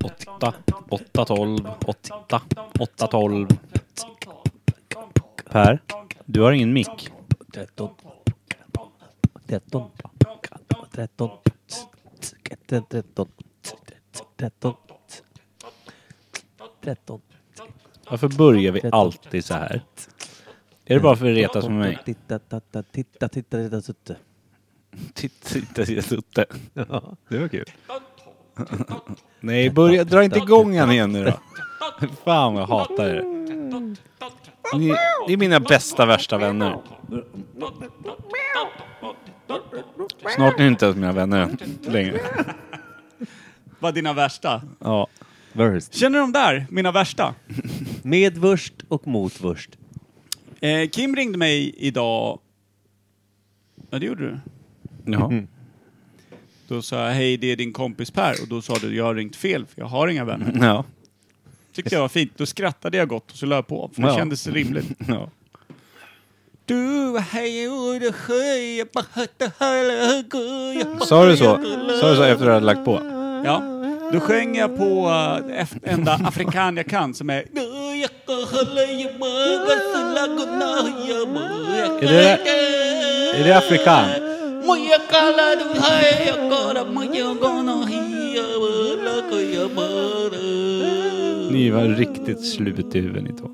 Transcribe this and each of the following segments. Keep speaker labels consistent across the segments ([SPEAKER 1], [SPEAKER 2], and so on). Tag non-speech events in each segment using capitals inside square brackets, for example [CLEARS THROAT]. [SPEAKER 1] 8, 8, 12, 8, 8, 12. Per, du har ingen mick.
[SPEAKER 2] 13. 13. 13. 13. 13. 13. 13.
[SPEAKER 1] Varför börjar vi alltid så här? Är det bara för att retas med mig?
[SPEAKER 2] Titta, titta, titta, titta, titta, titta.
[SPEAKER 1] Titta, titta, titta.
[SPEAKER 2] Ja.
[SPEAKER 1] Det var kul. Nej, börja, dra inte igång han igen nu då. Fan vad jag hatar er. Ni, ni är mina bästa värsta vänner. Snart är ni inte ens mina vänner längre.
[SPEAKER 3] Vad dina värsta?
[SPEAKER 1] Ja.
[SPEAKER 2] Worst.
[SPEAKER 3] Känner de där, mina värsta?
[SPEAKER 2] Med vurst och mot vurst.
[SPEAKER 3] Eh, Kim ringde mig idag. Ja, det gjorde du.
[SPEAKER 1] Jaha.
[SPEAKER 3] Då sa jag, hej det är din kompis Per. Och då sa du, jag har ringt fel för jag har inga vänner.
[SPEAKER 1] Ja.
[SPEAKER 3] Tyckte jag var fint. Då skrattade jag gott och så la jag på. För det
[SPEAKER 1] Ja.
[SPEAKER 3] kändes rimligt.
[SPEAKER 1] [LAUGHS] ja.
[SPEAKER 3] Du, hej, oj, det sköj, jag bara hörde, hörde, hörde.
[SPEAKER 1] Sa du så? Sa du så efter att du hade lagt på?
[SPEAKER 3] Ja. Då sjöng jag på eh, eff- enda afrikan jag kan som är...
[SPEAKER 1] Är det, är det afrikan? Ni var riktigt slut i huvudet ni två.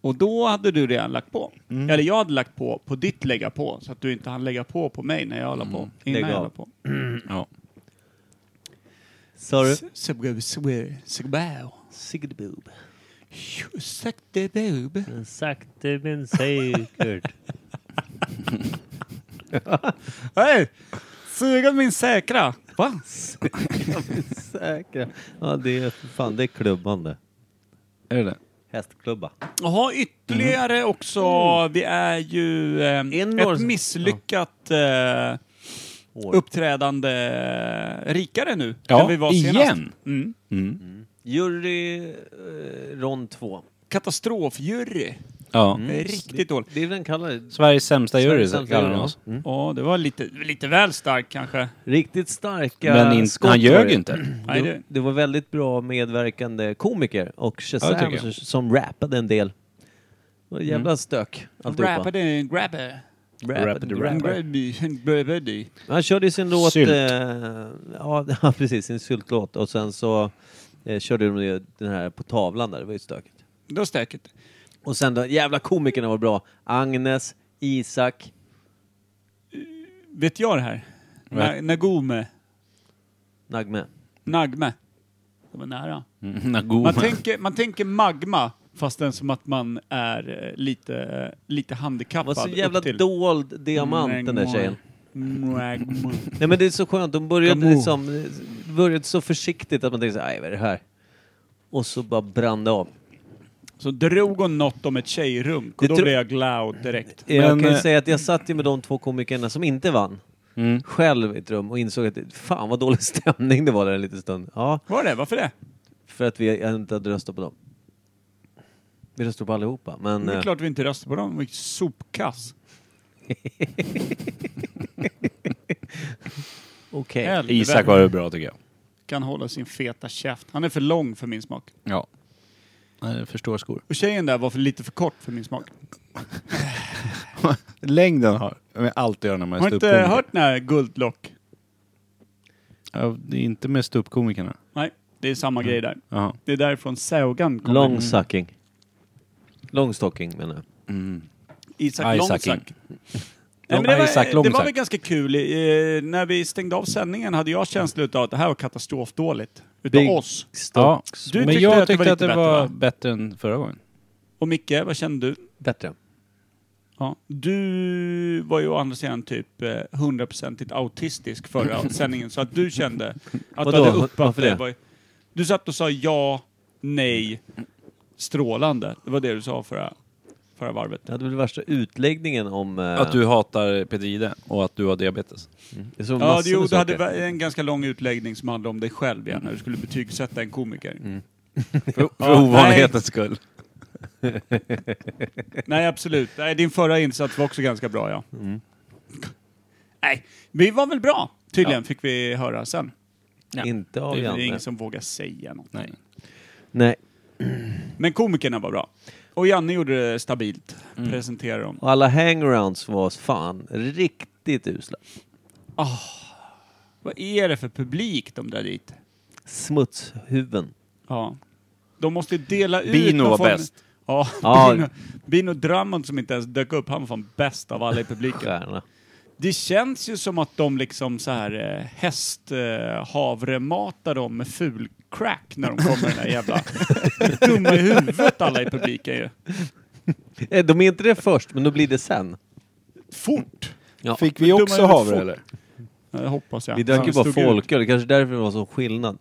[SPEAKER 3] Och då hade du redan lagt på.
[SPEAKER 2] Mm.
[SPEAKER 3] Eller jag hade lagt på på ditt lägga på så att du inte hann lägga på på mig när jag la på. Innan
[SPEAKER 2] Mm. Lägg
[SPEAKER 3] jag
[SPEAKER 2] av.
[SPEAKER 3] la på.
[SPEAKER 1] Ja.
[SPEAKER 2] Sa du?
[SPEAKER 3] Ursäkta
[SPEAKER 2] Sigboob.
[SPEAKER 3] bub.
[SPEAKER 2] Sakta men [LAUGHS] säkert.
[SPEAKER 3] Hej! Suga min säkra. Va?
[SPEAKER 2] Säkra. Ja, det är fan, det är klubbande.
[SPEAKER 1] Är det det?
[SPEAKER 2] Hästklubba.
[SPEAKER 3] Jaha, ytterligare också. Vi är ju eh,
[SPEAKER 2] Mm. En norr-
[SPEAKER 3] ett misslyckat eh,
[SPEAKER 2] År.
[SPEAKER 3] uppträdande eh, rikare nu.
[SPEAKER 1] Ja,
[SPEAKER 3] än vi var senast.
[SPEAKER 1] igen.
[SPEAKER 3] Mm.
[SPEAKER 2] Jury eh, rond två.
[SPEAKER 3] Katastrofjury.
[SPEAKER 1] Ja.
[SPEAKER 3] Riktigt dåligt.
[SPEAKER 2] Det är den kallar
[SPEAKER 1] Mm. Sveriges sämsta jury
[SPEAKER 2] Sveriges sämsta
[SPEAKER 1] kallar
[SPEAKER 2] jury,
[SPEAKER 1] de
[SPEAKER 2] ja.
[SPEAKER 1] oss.
[SPEAKER 2] Mm.
[SPEAKER 3] Ja, det var lite, lite väl starkt kanske.
[SPEAKER 2] Riktigt starka
[SPEAKER 1] Men in,
[SPEAKER 2] skott
[SPEAKER 1] han
[SPEAKER 2] var
[SPEAKER 1] ljög
[SPEAKER 2] det.
[SPEAKER 1] ju inte.
[SPEAKER 3] Nej,
[SPEAKER 2] Det,
[SPEAKER 3] det-
[SPEAKER 2] det var väldigt bra medverkande komiker och
[SPEAKER 1] Ja, det
[SPEAKER 2] Shazam
[SPEAKER 1] tycker jag. Mm.
[SPEAKER 2] som rappade en del. Det var ett jävla stök alltihopa.
[SPEAKER 3] Rappade en grabbe.
[SPEAKER 1] Rappade,
[SPEAKER 2] rappade.
[SPEAKER 1] rappade.
[SPEAKER 3] Grabbe.
[SPEAKER 2] Han körde ju sin låt...
[SPEAKER 1] Sylt.
[SPEAKER 2] Eh, ja, [LAUGHS] ja, precis. Sin syltlåt. Och sen så eh, körde de ju den här på tavlan där. Det var ju stökigt.
[SPEAKER 3] Det var stökigt.
[SPEAKER 2] Och sen då, jävla komikerna var bra. Agnes, Isak.
[SPEAKER 3] Vet jag det här?
[SPEAKER 1] Nej.
[SPEAKER 3] Na- Nagome.
[SPEAKER 2] Nagme.
[SPEAKER 3] Nagme. Det var nära.
[SPEAKER 1] Mm.
[SPEAKER 3] Man
[SPEAKER 1] Nagoma.
[SPEAKER 3] tänker, man tänker magma fastän som att man är eh, lite, lite handikappad.
[SPEAKER 2] Var så
[SPEAKER 3] upp
[SPEAKER 2] jävla
[SPEAKER 3] till.
[SPEAKER 2] dold diamant den där tjejen.
[SPEAKER 3] Magma.
[SPEAKER 2] Nej men det är så skönt, de började,
[SPEAKER 3] Kaboom.
[SPEAKER 2] liksom, började så försiktigt att man tänkte såhär, vad är det här? Och så bara brann det av. Eh,
[SPEAKER 3] Så drog hon något om ett tjejrunk
[SPEAKER 2] Det
[SPEAKER 3] och då
[SPEAKER 2] tro-
[SPEAKER 3] blev jag glad direkt.
[SPEAKER 2] jag
[SPEAKER 1] Men,
[SPEAKER 2] kan ju
[SPEAKER 1] eh,
[SPEAKER 2] säga att jag satt ju med de två komikerna som inte vann,
[SPEAKER 1] Mm.
[SPEAKER 2] själv i ett rum och insåg att fan vad dålig [LAUGHS] stämning det var där en liten stund. Ja,
[SPEAKER 3] Var det? Varför det?
[SPEAKER 2] för att vi inte hade röstat på dem. Vi röstade på allihopa, men...
[SPEAKER 3] Det är
[SPEAKER 2] eh,
[SPEAKER 3] klart vi inte röstade på dem. De var ju sopkass.
[SPEAKER 2] Okej.
[SPEAKER 3] Helvete.
[SPEAKER 1] Isak var det bra tycker jag.
[SPEAKER 3] Kan hålla sin feta käft. Han är för lång för min smak.
[SPEAKER 1] Ja. Jag förstår skor.
[SPEAKER 3] Och tjejen där var för lite för kort för min smak.
[SPEAKER 1] Längden har med allt att göra när man är
[SPEAKER 3] Har inte
[SPEAKER 1] ståuppkomiker.
[SPEAKER 3] hört den här Guldlock?
[SPEAKER 1] Ja, det är inte med ståuppkomikerna.
[SPEAKER 3] Nej, det är samma grej där.
[SPEAKER 1] Jaha.
[SPEAKER 3] Det är därifrån Saugan kommer.
[SPEAKER 2] Long sucking. Long stocking menar jag.
[SPEAKER 3] Isak
[SPEAKER 1] Isaking.
[SPEAKER 3] Långsack. Nej, men det, var,
[SPEAKER 1] Isak
[SPEAKER 3] det var
[SPEAKER 1] Långsack.
[SPEAKER 3] väl ganska kul. Eh, när vi stängde av sändningen hade jag känslan utav att det här var katastrofdåligt. Utav
[SPEAKER 2] Big-
[SPEAKER 3] oss.
[SPEAKER 1] Ja,
[SPEAKER 2] Stocks.
[SPEAKER 3] Du
[SPEAKER 1] men
[SPEAKER 3] tyckte
[SPEAKER 1] jag
[SPEAKER 3] att det var
[SPEAKER 1] tyckte att
[SPEAKER 3] lite
[SPEAKER 1] det
[SPEAKER 3] bättre,
[SPEAKER 1] var
[SPEAKER 3] va?
[SPEAKER 1] bättre än förra gången.
[SPEAKER 3] Och Micke, vad kände du?
[SPEAKER 2] Bättre.
[SPEAKER 3] Ja. Du var ju å andra sidan typ eh, 100%
[SPEAKER 2] [LAUGHS]
[SPEAKER 3] autistisk förra sändningen, så att du kände att du
[SPEAKER 2] Vadå?
[SPEAKER 3] hade uppfattat
[SPEAKER 2] Varför det?
[SPEAKER 3] det. var- Du satt och sa ja, nej, strålande. Det var det du sa förra, förra varvet.
[SPEAKER 2] Det hade väl värsta utläggningen om... eh,
[SPEAKER 1] Att du hatar Peter Jihde och att du har diabetes.
[SPEAKER 2] det är så
[SPEAKER 3] Ja,
[SPEAKER 2] massor
[SPEAKER 3] du,
[SPEAKER 2] med
[SPEAKER 3] jo, du hade
[SPEAKER 2] saker.
[SPEAKER 3] vä- en ganska lång utläggning som handlade om dig själv, ja, när du skulle betygsätta en komiker.
[SPEAKER 2] Mm. [LAUGHS]
[SPEAKER 1] För,
[SPEAKER 3] Ja,
[SPEAKER 1] för ovanlighetens skull.
[SPEAKER 3] [LAUGHS] Nej, absolut. Nej, din förra insats var också ganska bra, ja.
[SPEAKER 2] Mm.
[SPEAKER 3] Nej, vi var väl bra, tydligen, fick vi höra sen. Ja.
[SPEAKER 2] Inte av
[SPEAKER 3] Det är
[SPEAKER 2] Janne.
[SPEAKER 3] ingen som vågar säga något.
[SPEAKER 1] Nej.
[SPEAKER 2] Nej.
[SPEAKER 3] Men komikerna var bra. Och Janne gjorde det stabilt. Presenterade dem.
[SPEAKER 2] Och alla hangarounds var fan riktigt usla.
[SPEAKER 3] Vad är det för publik de drar dit?
[SPEAKER 2] Smutshuven.
[SPEAKER 3] Ja. De måste dela ut...
[SPEAKER 1] Bino
[SPEAKER 3] någon
[SPEAKER 1] var
[SPEAKER 3] form-
[SPEAKER 1] bäst.
[SPEAKER 3] Ja,
[SPEAKER 2] Ja.
[SPEAKER 3] Bino, Bino Drummond som inte ens dök upp, han var fan bäst av alla i publiken.
[SPEAKER 2] Stjärna.
[SPEAKER 3] Det känns ju som att de liksom så här eh, häst eh, havrematar dem med ful crack när de kommer den här jävla... Dumma i huvudet alla i publiken ju.
[SPEAKER 2] Eh, De är inte det först, men då blir det sen.
[SPEAKER 3] Fort!
[SPEAKER 2] Ja.
[SPEAKER 1] Fick vi
[SPEAKER 3] Dumma
[SPEAKER 1] också
[SPEAKER 3] huvudet
[SPEAKER 1] havre
[SPEAKER 3] fort.
[SPEAKER 1] eller?
[SPEAKER 3] Ja, Det hoppas jag.
[SPEAKER 2] Vi drack ju
[SPEAKER 3] Han
[SPEAKER 2] bara
[SPEAKER 3] stod ut.
[SPEAKER 2] folköl, det kanske är därför det var sån skillnad.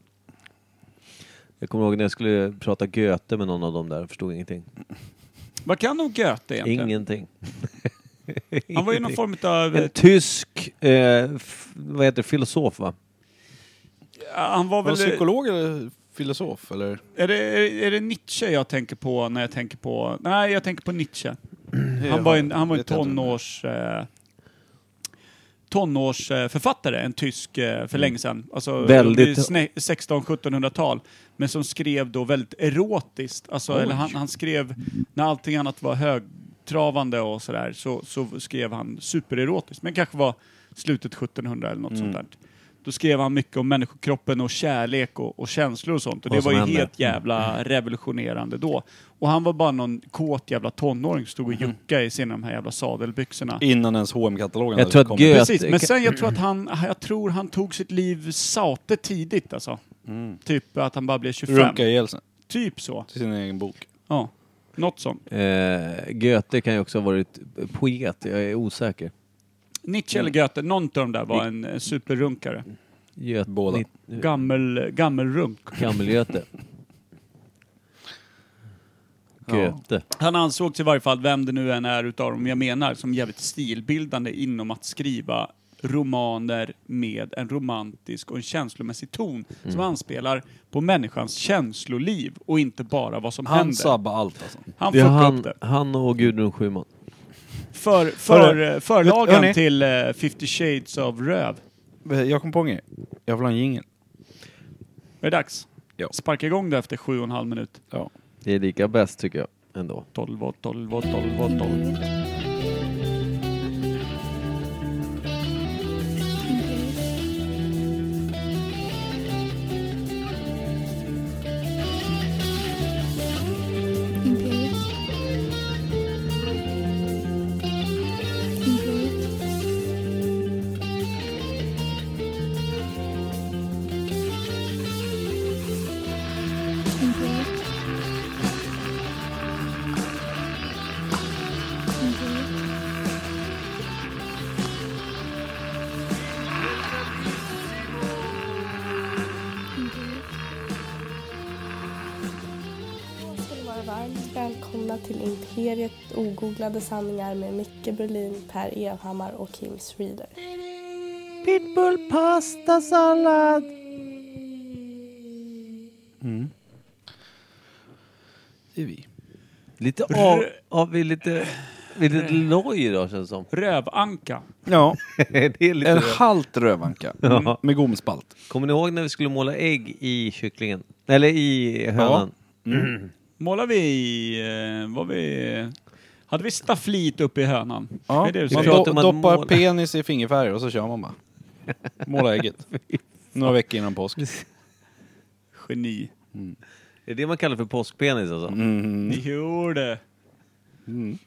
[SPEAKER 2] Jag kommer ihåg när jag skulle prata Göte med någon av dem där, förstod ingenting.
[SPEAKER 3] Vad kan nog Göte egentligen?
[SPEAKER 2] Ingenting.
[SPEAKER 3] Han var ju någon form
[SPEAKER 2] [LAUGHS] En
[SPEAKER 3] av...
[SPEAKER 2] tysk, eh, f- vad heter det, filosof va?
[SPEAKER 3] Han var
[SPEAKER 1] Var han
[SPEAKER 3] väl...
[SPEAKER 1] psykolog eller filosof eller?
[SPEAKER 3] Är det, är, är det Nietzsche jag tänker på när jag tänker på... Nej, jag tänker på Nietzsche.
[SPEAKER 2] Mm.
[SPEAKER 3] Han var en, han var en
[SPEAKER 1] Vet jag inte.
[SPEAKER 3] tonårs... Eh, tonårsförfattare, en tysk eh, för länge sedan. Alltså,
[SPEAKER 2] Mm. Väldigt-
[SPEAKER 3] 16-1700-tal. Men som skrev då väldigt erotiskt. Alltså, eller han, han skrev, när allting annat var högtravande och sådär, så, så skrev han supererotiskt. Men kanske var slutet 1700 eller
[SPEAKER 2] Mm.
[SPEAKER 3] något sånt där. Då skrev han mycket om människokroppen och kärlek och, och känslor och sånt. Och
[SPEAKER 2] Vad
[SPEAKER 3] det
[SPEAKER 2] som
[SPEAKER 3] var ju
[SPEAKER 2] händer.
[SPEAKER 3] helt jävla revolutionerande då. Och han var bara någon kåt jävla tonåring som stod och juckade i sina de här jävla sadelbyxorna.
[SPEAKER 1] Innan ens hm katalogen
[SPEAKER 2] Jag tror att Goethe-
[SPEAKER 3] Precis, men
[SPEAKER 2] Kan-
[SPEAKER 3] sen jag tror att han, jag tror han tog sitt liv saute tidigt alltså. Typ att han bara blev 25.
[SPEAKER 1] Runka ihjäl sig
[SPEAKER 3] Typ så.
[SPEAKER 1] till sin egen bok.
[SPEAKER 3] Ja. Något sånt.
[SPEAKER 2] Eh, Goethe kan ju också ha varit poet, jag är osäker.
[SPEAKER 3] Nietzsche eller Goethe, någon av dem där var en eh, superrunkare.
[SPEAKER 2] Göte,
[SPEAKER 1] Båda.
[SPEAKER 3] Gammel, gammelrunk. [LAUGHS]
[SPEAKER 2] Gammelgöte. Göte.
[SPEAKER 3] Han ansågs i varje fall, vem det nu än är utav dem jag menar, som jävligt stilbildande inom att skriva romaner med en romantisk och en känslomässig ton som
[SPEAKER 1] Mm.
[SPEAKER 3] anspelar på människans känsloliv och inte bara vad som
[SPEAKER 1] Han
[SPEAKER 3] händer.
[SPEAKER 1] sabbar allt alltså.
[SPEAKER 3] Han
[SPEAKER 2] Det är
[SPEAKER 3] fuckade
[SPEAKER 2] han,
[SPEAKER 3] upp det.
[SPEAKER 2] han och Gudrun Schyman.
[SPEAKER 3] För, för, eh, förlagen
[SPEAKER 1] hörni.
[SPEAKER 3] till eh, 50 Shades of Röv.
[SPEAKER 1] Jag kom på en grej. Jag vill ha en jingel.
[SPEAKER 3] Är det dags?
[SPEAKER 1] Ja.
[SPEAKER 3] Sparka igång det efter sju och en halv minut.
[SPEAKER 1] Ja.
[SPEAKER 2] Det är lika bäst tycker jag, ändå.
[SPEAKER 3] 12 och 12 och 12 och 12.
[SPEAKER 4] Imperiet. Imperiet. Imperiet. Imperiet. Imperiet.
[SPEAKER 5] Då ska ni vara varmt välkomna till Imperiet ogooglade sanningar med Micke Berlin, Per Evhammar och Kim Reader.
[SPEAKER 2] Pitbull pastasallad!
[SPEAKER 1] Det är vi.
[SPEAKER 2] Lite av, av vi är lite, vi är lite loj idag känns det som.
[SPEAKER 3] Rövanka.
[SPEAKER 1] Ja, Mm.
[SPEAKER 2] det är
[SPEAKER 1] [LAUGHS] en
[SPEAKER 2] lite
[SPEAKER 1] halt [LAUGHS] rövanka.
[SPEAKER 2] Ja.
[SPEAKER 1] Med gomspalt.
[SPEAKER 2] Kommer ni ihåg när vi skulle måla ägg i kycklingen? Eller i hönan?
[SPEAKER 3] Målar vi i... Eh, var vi... Hade vi stafflit uppe i hönan?
[SPEAKER 1] Ja.
[SPEAKER 3] Är det det du
[SPEAKER 1] man
[SPEAKER 3] säger?
[SPEAKER 2] pratar
[SPEAKER 1] do
[SPEAKER 2] om att
[SPEAKER 1] doppar
[SPEAKER 2] måla.
[SPEAKER 1] penis i fingerfärger och så kör [LAUGHS] man bara. Måla ägget. Några veckor innan påsk.
[SPEAKER 3] Geni.
[SPEAKER 2] Det är det man kallar för påskpenis alltså.
[SPEAKER 1] Mhm.
[SPEAKER 3] Ni gjorde.
[SPEAKER 2] Mm.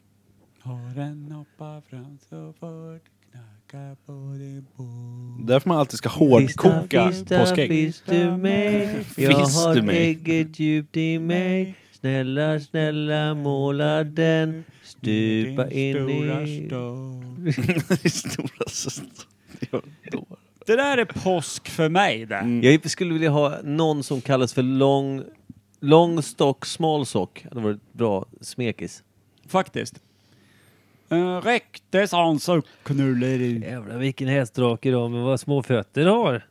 [SPEAKER 3] Håren hoppar fram så fort knackar på din port.
[SPEAKER 1] Därför man alltid ska hårdkoka påskägg.
[SPEAKER 2] fisk du mig. Jag
[SPEAKER 1] Fisk du
[SPEAKER 2] har
[SPEAKER 1] mig.
[SPEAKER 2] ägget djupt i mig. Snälla, snälla måla den. Stupa in i...
[SPEAKER 3] stol.
[SPEAKER 1] [LAUGHS] I stora syster.
[SPEAKER 3] Det där är påsk för mig det.
[SPEAKER 2] Jag skulle vilja ha någon som kallas för lång... Lång stock, smal sock. Det var ett bra smekis.
[SPEAKER 3] Faktiskt. En riktig sån suckknulleri.
[SPEAKER 6] Jävlar vilken hästdrake du har, men vad små fötter du har.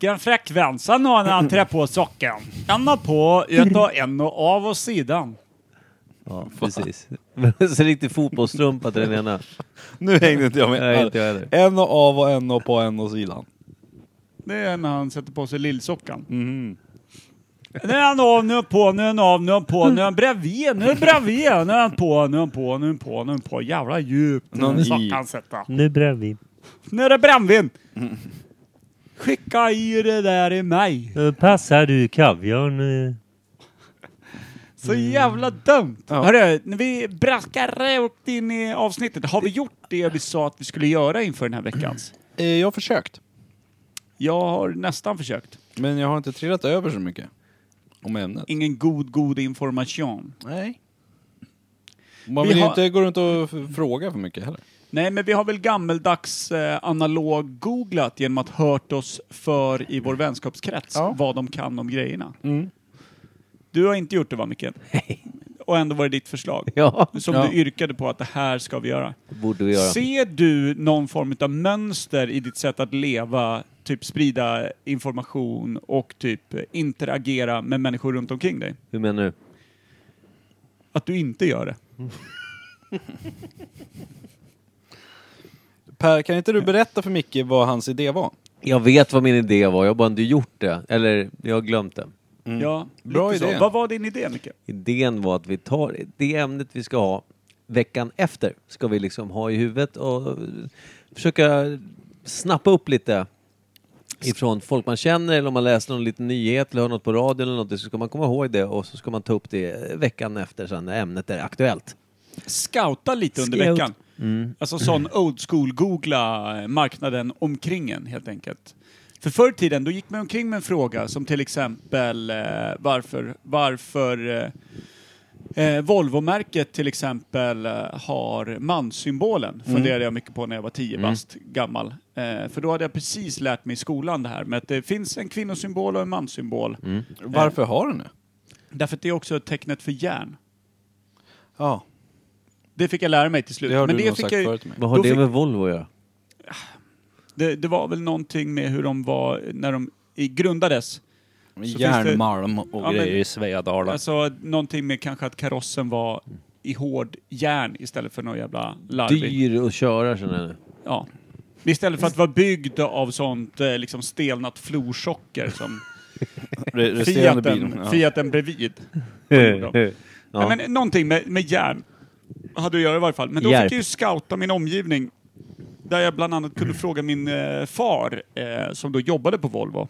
[SPEAKER 3] Vilken frekvens han har när han trär på socken. En och på, ut och en och av och sidan.
[SPEAKER 2] Ja, [LAUGHS] precis. Men så riktig fotbollsstrumpa till den ena.
[SPEAKER 1] Nu hängde inte jag med.
[SPEAKER 2] Nej, inte jag heller.
[SPEAKER 1] en och av och en och på en och sidan.
[SPEAKER 3] Det är när han sätter på sig lillsockan.
[SPEAKER 1] Mhm.
[SPEAKER 3] Nu är han av, nu är han på, nu är han av, nu är han på, nu är han bredvid, nu är han bredvid, nu är han på, nu är han på, nu är han på, nu är han på. Jävla djupt den
[SPEAKER 1] Någon
[SPEAKER 3] här
[SPEAKER 1] i.
[SPEAKER 3] sockan sätter.
[SPEAKER 6] Nu bredvid.
[SPEAKER 3] Nu är det brännvin! Skicka i det där i mig.
[SPEAKER 6] Nu passar du kaviarn. eh.
[SPEAKER 3] Så jävla dumt!
[SPEAKER 1] Mm. Ja.
[SPEAKER 3] Hörru, när vi braskar rakt in i avsnittet. Har vi gjort det vi sa att vi skulle göra inför den här veckans?
[SPEAKER 1] Eh, Jag har försökt.
[SPEAKER 3] Jag har nästan försökt.
[SPEAKER 1] Men jag har inte trillat över så mycket. Om ämnet.
[SPEAKER 3] Ingen god, god information.
[SPEAKER 1] Nej. Man
[SPEAKER 3] Vi
[SPEAKER 1] vill ju
[SPEAKER 3] har-
[SPEAKER 1] inte gå runt och f- fråga för mycket heller.
[SPEAKER 3] Nej, men vi har väl gammeldags eh, analog-googlat genom att hört oss för i vår vänskapskrets
[SPEAKER 1] Ja. Mm.
[SPEAKER 3] vad de kan om grejerna. Du har inte gjort det va, Micke? Och ändå var det ditt förslag.
[SPEAKER 2] Ja,
[SPEAKER 3] Som
[SPEAKER 1] Ja.
[SPEAKER 3] du yrkade på att det här ska vi göra.
[SPEAKER 2] det borde vi göra.
[SPEAKER 3] Ser du någon form av mönster i ditt sätt att leva, typ sprida information och typ interagera med människor runt omkring dig?
[SPEAKER 2] Hur menar du?
[SPEAKER 3] Att du inte gör det?
[SPEAKER 1] Per, kan inte du berätta för Micke vad hans idé var?
[SPEAKER 2] Jag vet vad min idé var, jag har bara inte gjort det. Eller, jag har glömt det.
[SPEAKER 3] Ja,
[SPEAKER 1] Mm. Bra
[SPEAKER 3] lite
[SPEAKER 1] idé.
[SPEAKER 3] Så. Vad var din idé, Micke?
[SPEAKER 2] Idén var att vi tar det ämnet vi ska ha veckan efter. Ska vi liksom ha i huvudet och försöka snappa upp lite ifrån folk man känner eller om man läser någon liten nyhet eller hör något på radion eller något. Så ska man komma ihåg det och så ska man ta upp det veckan efter sen när ämnet är aktuellt.
[SPEAKER 3] scouta lite under
[SPEAKER 2] Scout.
[SPEAKER 3] veckan.
[SPEAKER 1] Mm.
[SPEAKER 3] Alltså sån old school-googla eh, marknaden omkring en helt enkelt. För förr i tiden då gick man omkring med en fråga som till exempel eh, varför, varför eh, eh, Volvo-märket till exempel eh, har manssymbolen.
[SPEAKER 1] Mm.
[SPEAKER 3] Funderade jag mycket på när jag var 10 bast gammal. Eh, för då hade jag precis lärt mig i skolan det här med att det finns en kvinnosymbol och en manssymbol.
[SPEAKER 1] Mm. Varför har den det?
[SPEAKER 3] Därför att det är också tecknet för järn.
[SPEAKER 1] Ja,
[SPEAKER 3] Det fick jag lära mig till slut.
[SPEAKER 1] det har
[SPEAKER 3] Men
[SPEAKER 1] du
[SPEAKER 3] det
[SPEAKER 1] nog
[SPEAKER 3] fick
[SPEAKER 1] sagt
[SPEAKER 3] jag ju-
[SPEAKER 1] förut till mig.
[SPEAKER 2] Vad har
[SPEAKER 3] Då
[SPEAKER 2] det
[SPEAKER 3] fick-
[SPEAKER 2] med Volvo att göra?
[SPEAKER 3] Det, det var väl någonting med hur de var när de i, grundades. finns det-
[SPEAKER 1] Järnmalm och
[SPEAKER 3] Ja, men-
[SPEAKER 1] grejer i Svedala.
[SPEAKER 3] Alltså någonting med kanske att karossen var i hård järn istället för någon jävla larvig.
[SPEAKER 2] Dyr att köra känner jag nu.
[SPEAKER 3] Ja. Istället för att vara byggd av sånt eh, liksom stelnat florsocker som
[SPEAKER 1] Re- resterande bilen,
[SPEAKER 3] Fiaten,
[SPEAKER 1] ja.
[SPEAKER 3] Fiaten bredvid. [LAUGHS]
[SPEAKER 2] Ja.
[SPEAKER 3] Nej, men någonting med, med järn hade att göra i varje fall. Men då
[SPEAKER 2] Järp.
[SPEAKER 3] fick jag ju scouta min omgivning. Där jag bland annat kunde fråga min eh, far, eh, som då jobbade på Volvo.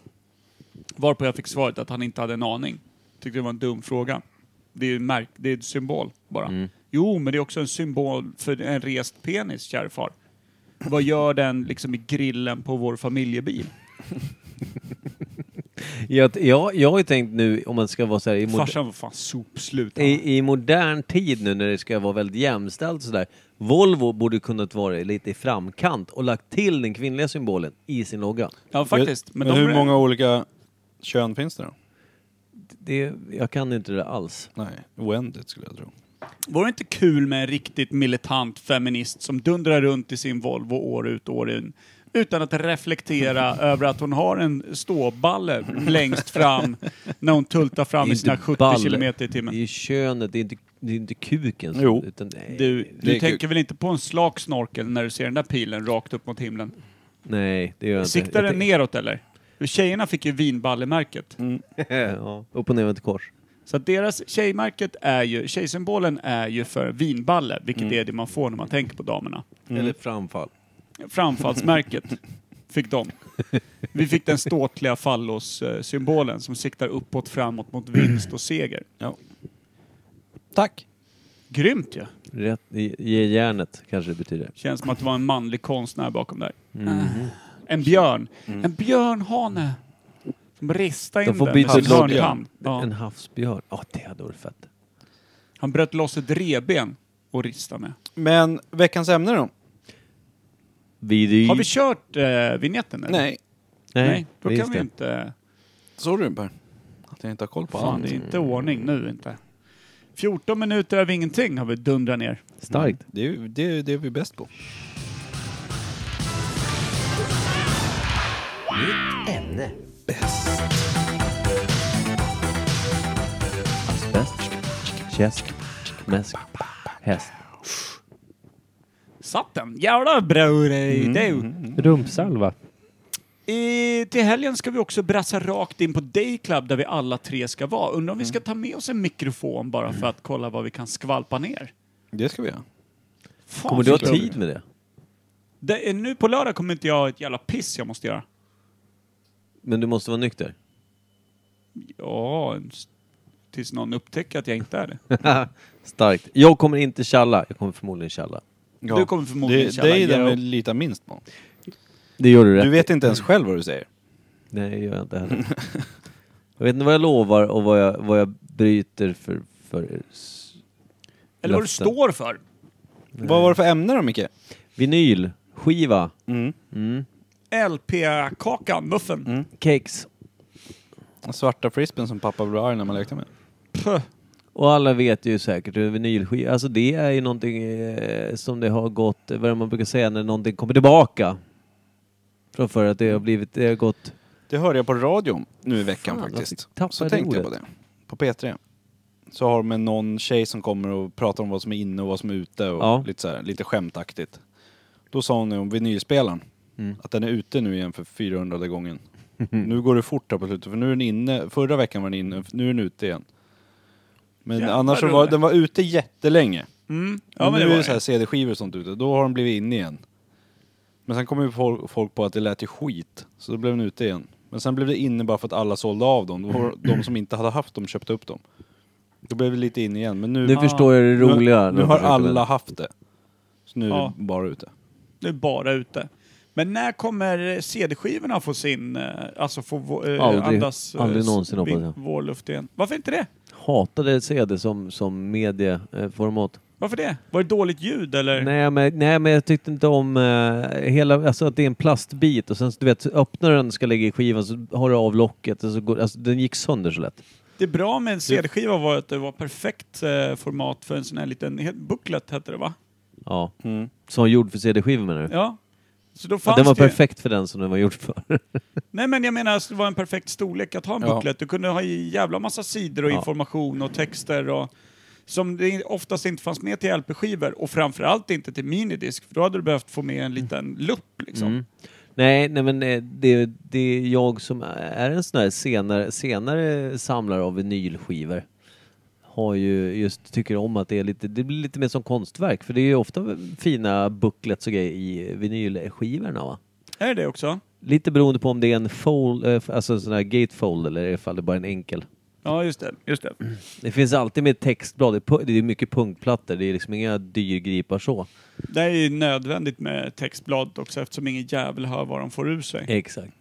[SPEAKER 3] Varpå jag fick svaret att han inte hade en aning. Tyckte det var en dum fråga. Det är ju en märk, det är en symbol bara.
[SPEAKER 2] Mm.
[SPEAKER 3] Jo, men det är också en symbol för en rest penis, kära far. Vad gör den liksom i grillen på vår familjebil?
[SPEAKER 2] Jag, jag, jag har ju tänkt nu om man ska vara så här i moder-
[SPEAKER 3] Farsan var fan sopslut. han.
[SPEAKER 2] I, I modern tid nu när det ska vara väldigt jämställt och sådär. Volvo borde kunnat vara lite i framkant och lagt till den kvinnliga symbolen i sin logga.
[SPEAKER 3] Ja, faktiskt.
[SPEAKER 1] Men,
[SPEAKER 3] Men, de,
[SPEAKER 1] hur många olika kön finns det då?
[SPEAKER 2] Det, jag kan inte det alls.
[SPEAKER 1] Nej, oändligt skulle jag tro.
[SPEAKER 3] Vore det inte kul med en riktigt militant feminist som dundrar runt i sin Volvo år ut och år in utan att reflektera över att hon har en ståballe längst fram när hon tultar fram
[SPEAKER 2] Det
[SPEAKER 3] i
[SPEAKER 2] är
[SPEAKER 3] sina
[SPEAKER 2] inte
[SPEAKER 3] 70
[SPEAKER 2] ball.
[SPEAKER 3] kilometer i timmen.
[SPEAKER 2] Det är könet, det är inte, det är inte kuken. som-
[SPEAKER 1] Jo.
[SPEAKER 2] Utan, nej.
[SPEAKER 3] Du,
[SPEAKER 1] Det
[SPEAKER 3] du
[SPEAKER 1] är
[SPEAKER 3] tänker
[SPEAKER 1] kul.
[SPEAKER 3] väl inte på en slak snorkel när du ser den där pilen rakt upp mot himlen?
[SPEAKER 2] nej, det gör jag inte.
[SPEAKER 3] Siktar
[SPEAKER 2] Jag
[SPEAKER 3] den neråt eller? Tjejerna fick ju vinballemärket.
[SPEAKER 2] tänk- [LAUGHS] ja, upp och ner med ett kors.
[SPEAKER 3] Så att deras tjejmärket är ju, tjejsymbolen är ju för vinballe, vilket är det man får när man tänker på damerna.
[SPEAKER 2] Eller framfall.
[SPEAKER 3] framfallsmärket fick de. Vi fick den ståtliga fallos-symbolen som siktar uppåt, framåt mot vinst och seger.
[SPEAKER 1] Tack!
[SPEAKER 3] Grymt ju! Ja.
[SPEAKER 2] Rätt, i- ge järnet kanske det betyder.
[SPEAKER 3] Känns som att det var en manlig konstnär bakom där. En björn. En björnhane. Som ristade
[SPEAKER 2] Mm. De får
[SPEAKER 3] in den
[SPEAKER 2] byta
[SPEAKER 3] på
[SPEAKER 2] ut
[SPEAKER 3] sin
[SPEAKER 1] loggan.
[SPEAKER 3] hörnpann. Ja.
[SPEAKER 2] En havsbjörn. Ja, det hade varit fett.
[SPEAKER 3] Han bröt loss ett revben och ristade med.
[SPEAKER 1] Men veckans ämne då?
[SPEAKER 2] Vid...
[SPEAKER 3] Har vi kört eh, vignetten eller?
[SPEAKER 1] Nej,
[SPEAKER 2] Nej,
[SPEAKER 3] Nej, då
[SPEAKER 2] just
[SPEAKER 3] kan vi
[SPEAKER 2] det.
[SPEAKER 3] inte...
[SPEAKER 1] sorry Per. Att jag inte har koll på
[SPEAKER 3] Fan,
[SPEAKER 1] allt.
[SPEAKER 3] det är inte ordning nu inte. 14 minuter över ingenting har vi dundrat ner.
[SPEAKER 2] Starkt.
[SPEAKER 1] Det är ju- det, är- det är vi bäst på.
[SPEAKER 2] Bäst. Käsk. Mäsk. Häst.
[SPEAKER 3] Satt den? Jävla bror, mm. du!
[SPEAKER 6] Rumpsalva.
[SPEAKER 3] I, till helgen ska vi också brassa rakt in på Dayclub där vi alla tre ska vara. Undrar om vi ska ta med oss en mikrofon bara för att kolla vad vi kan skvalpa ner.
[SPEAKER 1] Det ska vi göra.
[SPEAKER 3] Fan,
[SPEAKER 2] Kommer du ha
[SPEAKER 3] så kul.
[SPEAKER 2] tid med det?
[SPEAKER 3] Det är, nu på lördag kommer inte jag ha ett jävla piss jag måste göra.
[SPEAKER 2] Men du måste vara nykter.
[SPEAKER 3] Ja, en s- tills någon upptäcker att jag inte är det.
[SPEAKER 2] Starkt. Jag kommer inte tjalla. Jag kommer förmodligen tjalla.
[SPEAKER 1] Ja.
[SPEAKER 3] Du kommer förmodligen
[SPEAKER 1] det,
[SPEAKER 3] tjalla
[SPEAKER 1] det är den
[SPEAKER 3] Geo.
[SPEAKER 1] vi litar minst på.
[SPEAKER 2] Det gör du rätt
[SPEAKER 1] Du vet inte ens själv vad du säger.
[SPEAKER 2] Nej, det gör jag inte heller. [LAUGHS] jag vet inte vad jag lovar och vad jag, vad jag bryter för... för s-
[SPEAKER 3] Eller vad du
[SPEAKER 2] löften.
[SPEAKER 3] står för.
[SPEAKER 1] Vad var det för ämne då Micke?
[SPEAKER 2] Vinyl, skiva,
[SPEAKER 1] Mm.
[SPEAKER 3] LP-kakan, muffen.
[SPEAKER 2] cakes.
[SPEAKER 1] Den Svarta frisbeen som pappa blev arg när man lekte med.
[SPEAKER 3] Puh.
[SPEAKER 2] Och alla vet ju säkert hur en vinylskiva... Alltså det är ju någonting eh, som det har gått... Vad är det man brukar säga när någonting kommer tillbaka? Från förr att det har blivit... Det har gått...
[SPEAKER 1] Det hörde jag på radion nu i veckan
[SPEAKER 2] Fan, varför
[SPEAKER 1] faktiskt.
[SPEAKER 2] tappade
[SPEAKER 1] Så
[SPEAKER 2] jag
[SPEAKER 1] tänkte jag på
[SPEAKER 2] ordet?
[SPEAKER 1] det. På P3. Så har de någon tjej som kommer och pratar om vad som är inne och vad som är ute och
[SPEAKER 2] Ja.
[SPEAKER 1] lite, så här, lite skämtaktigt. Då sa hon ju om vinylspelaren.
[SPEAKER 2] Mm.
[SPEAKER 1] Att den är ute nu igen för
[SPEAKER 2] [LAUGHS]
[SPEAKER 1] 400 gången. nu går det fort här på slutet för nu är den inne. Förra veckan var den inne, nu är den ute igen. Men
[SPEAKER 3] Jävlar,
[SPEAKER 1] annars så var
[SPEAKER 3] Rolle.
[SPEAKER 1] den var ute jättelänge.
[SPEAKER 3] Mm.
[SPEAKER 1] Ja,
[SPEAKER 3] Ja, men
[SPEAKER 1] nu
[SPEAKER 3] det
[SPEAKER 1] är
[SPEAKER 3] var
[SPEAKER 1] det så här
[SPEAKER 3] det.
[SPEAKER 1] CD-skivor och sånt ute, då har de blivit inne igen. Men sen kom ju folk, folk på att det lät ju skit, så då blev den ute igen. Men sen blev det inne bara för att alla sålde av dem. Då var De som inte hade haft dem köpte upp dem. Då blev det lite inne igen, men nu...
[SPEAKER 2] Nu förstår jag det roliga. när
[SPEAKER 1] Nu, nu
[SPEAKER 2] de
[SPEAKER 1] har
[SPEAKER 2] försöker
[SPEAKER 1] alla
[SPEAKER 2] vända.
[SPEAKER 1] haft det. Så nu är
[SPEAKER 3] Ja.
[SPEAKER 1] det bara ute.
[SPEAKER 3] Nu är bara ute. Men när kommer eh, CD-skivorna få sin, eh, alltså få vå- eh,
[SPEAKER 2] Aldrig.
[SPEAKER 3] andas eh,
[SPEAKER 2] Aldrig någonsin,
[SPEAKER 3] vin-
[SPEAKER 2] hoppas jag.
[SPEAKER 3] vårluft igen? Varför inte det?
[SPEAKER 2] Hatade CD som, som medieformat.
[SPEAKER 3] Varför det? Var det dåligt ljud eller?
[SPEAKER 2] Nej men, nej men jag tyckte inte om eh, hela, alltså att det är en plastbit och sen så, du vet, så öppnar du den ska lägga i skivan så har du av locket och så går, alltså den gick sönder så lätt.
[SPEAKER 3] Det bra med en CD-skiva var att det var perfekt eh, format för en sån här liten, he- booklet hette det va?
[SPEAKER 2] Ja. Som gjord för CD-skivor menar du?
[SPEAKER 3] Mm. Ja. Så då
[SPEAKER 2] Ja,
[SPEAKER 3] fanns
[SPEAKER 2] den var
[SPEAKER 3] det ju-
[SPEAKER 2] perfekt för den som den var gjord för. [LAUGHS]
[SPEAKER 3] Nej men jag menar, alltså, det var en perfekt storlek att ha en
[SPEAKER 1] Ja.
[SPEAKER 3] booklet. Du kunde ha i jävla massa sidor och
[SPEAKER 2] Ja.
[SPEAKER 3] information och texter och som det oftast inte fanns med till LP-skivor och framförallt inte till minidisk för då hade du behövt få med en liten lupp liksom.
[SPEAKER 2] Mm. Nej, nej men eh, det, det är jag som är en sån här senare, senare samlare av vinylskivor. Har ju just, tycker om att det är lite, det blir lite mer som konstverk för det är ju ofta fina booklets och grejer i vinylskivorna va?
[SPEAKER 3] Är det det också?
[SPEAKER 2] Lite beroende på om det är en fold, eh, alltså en sån här gatefold eller ifall det bara är en enkel.
[SPEAKER 3] Ja, just det. Just det.
[SPEAKER 2] Det finns alltid med textblad, det är pu- det är mycket punktplattor, det är liksom inga dyrgripar så.
[SPEAKER 3] Det är ju nödvändigt med textbladet också eftersom ingen jävel hör vad de får ur sig.
[SPEAKER 2] Exakt.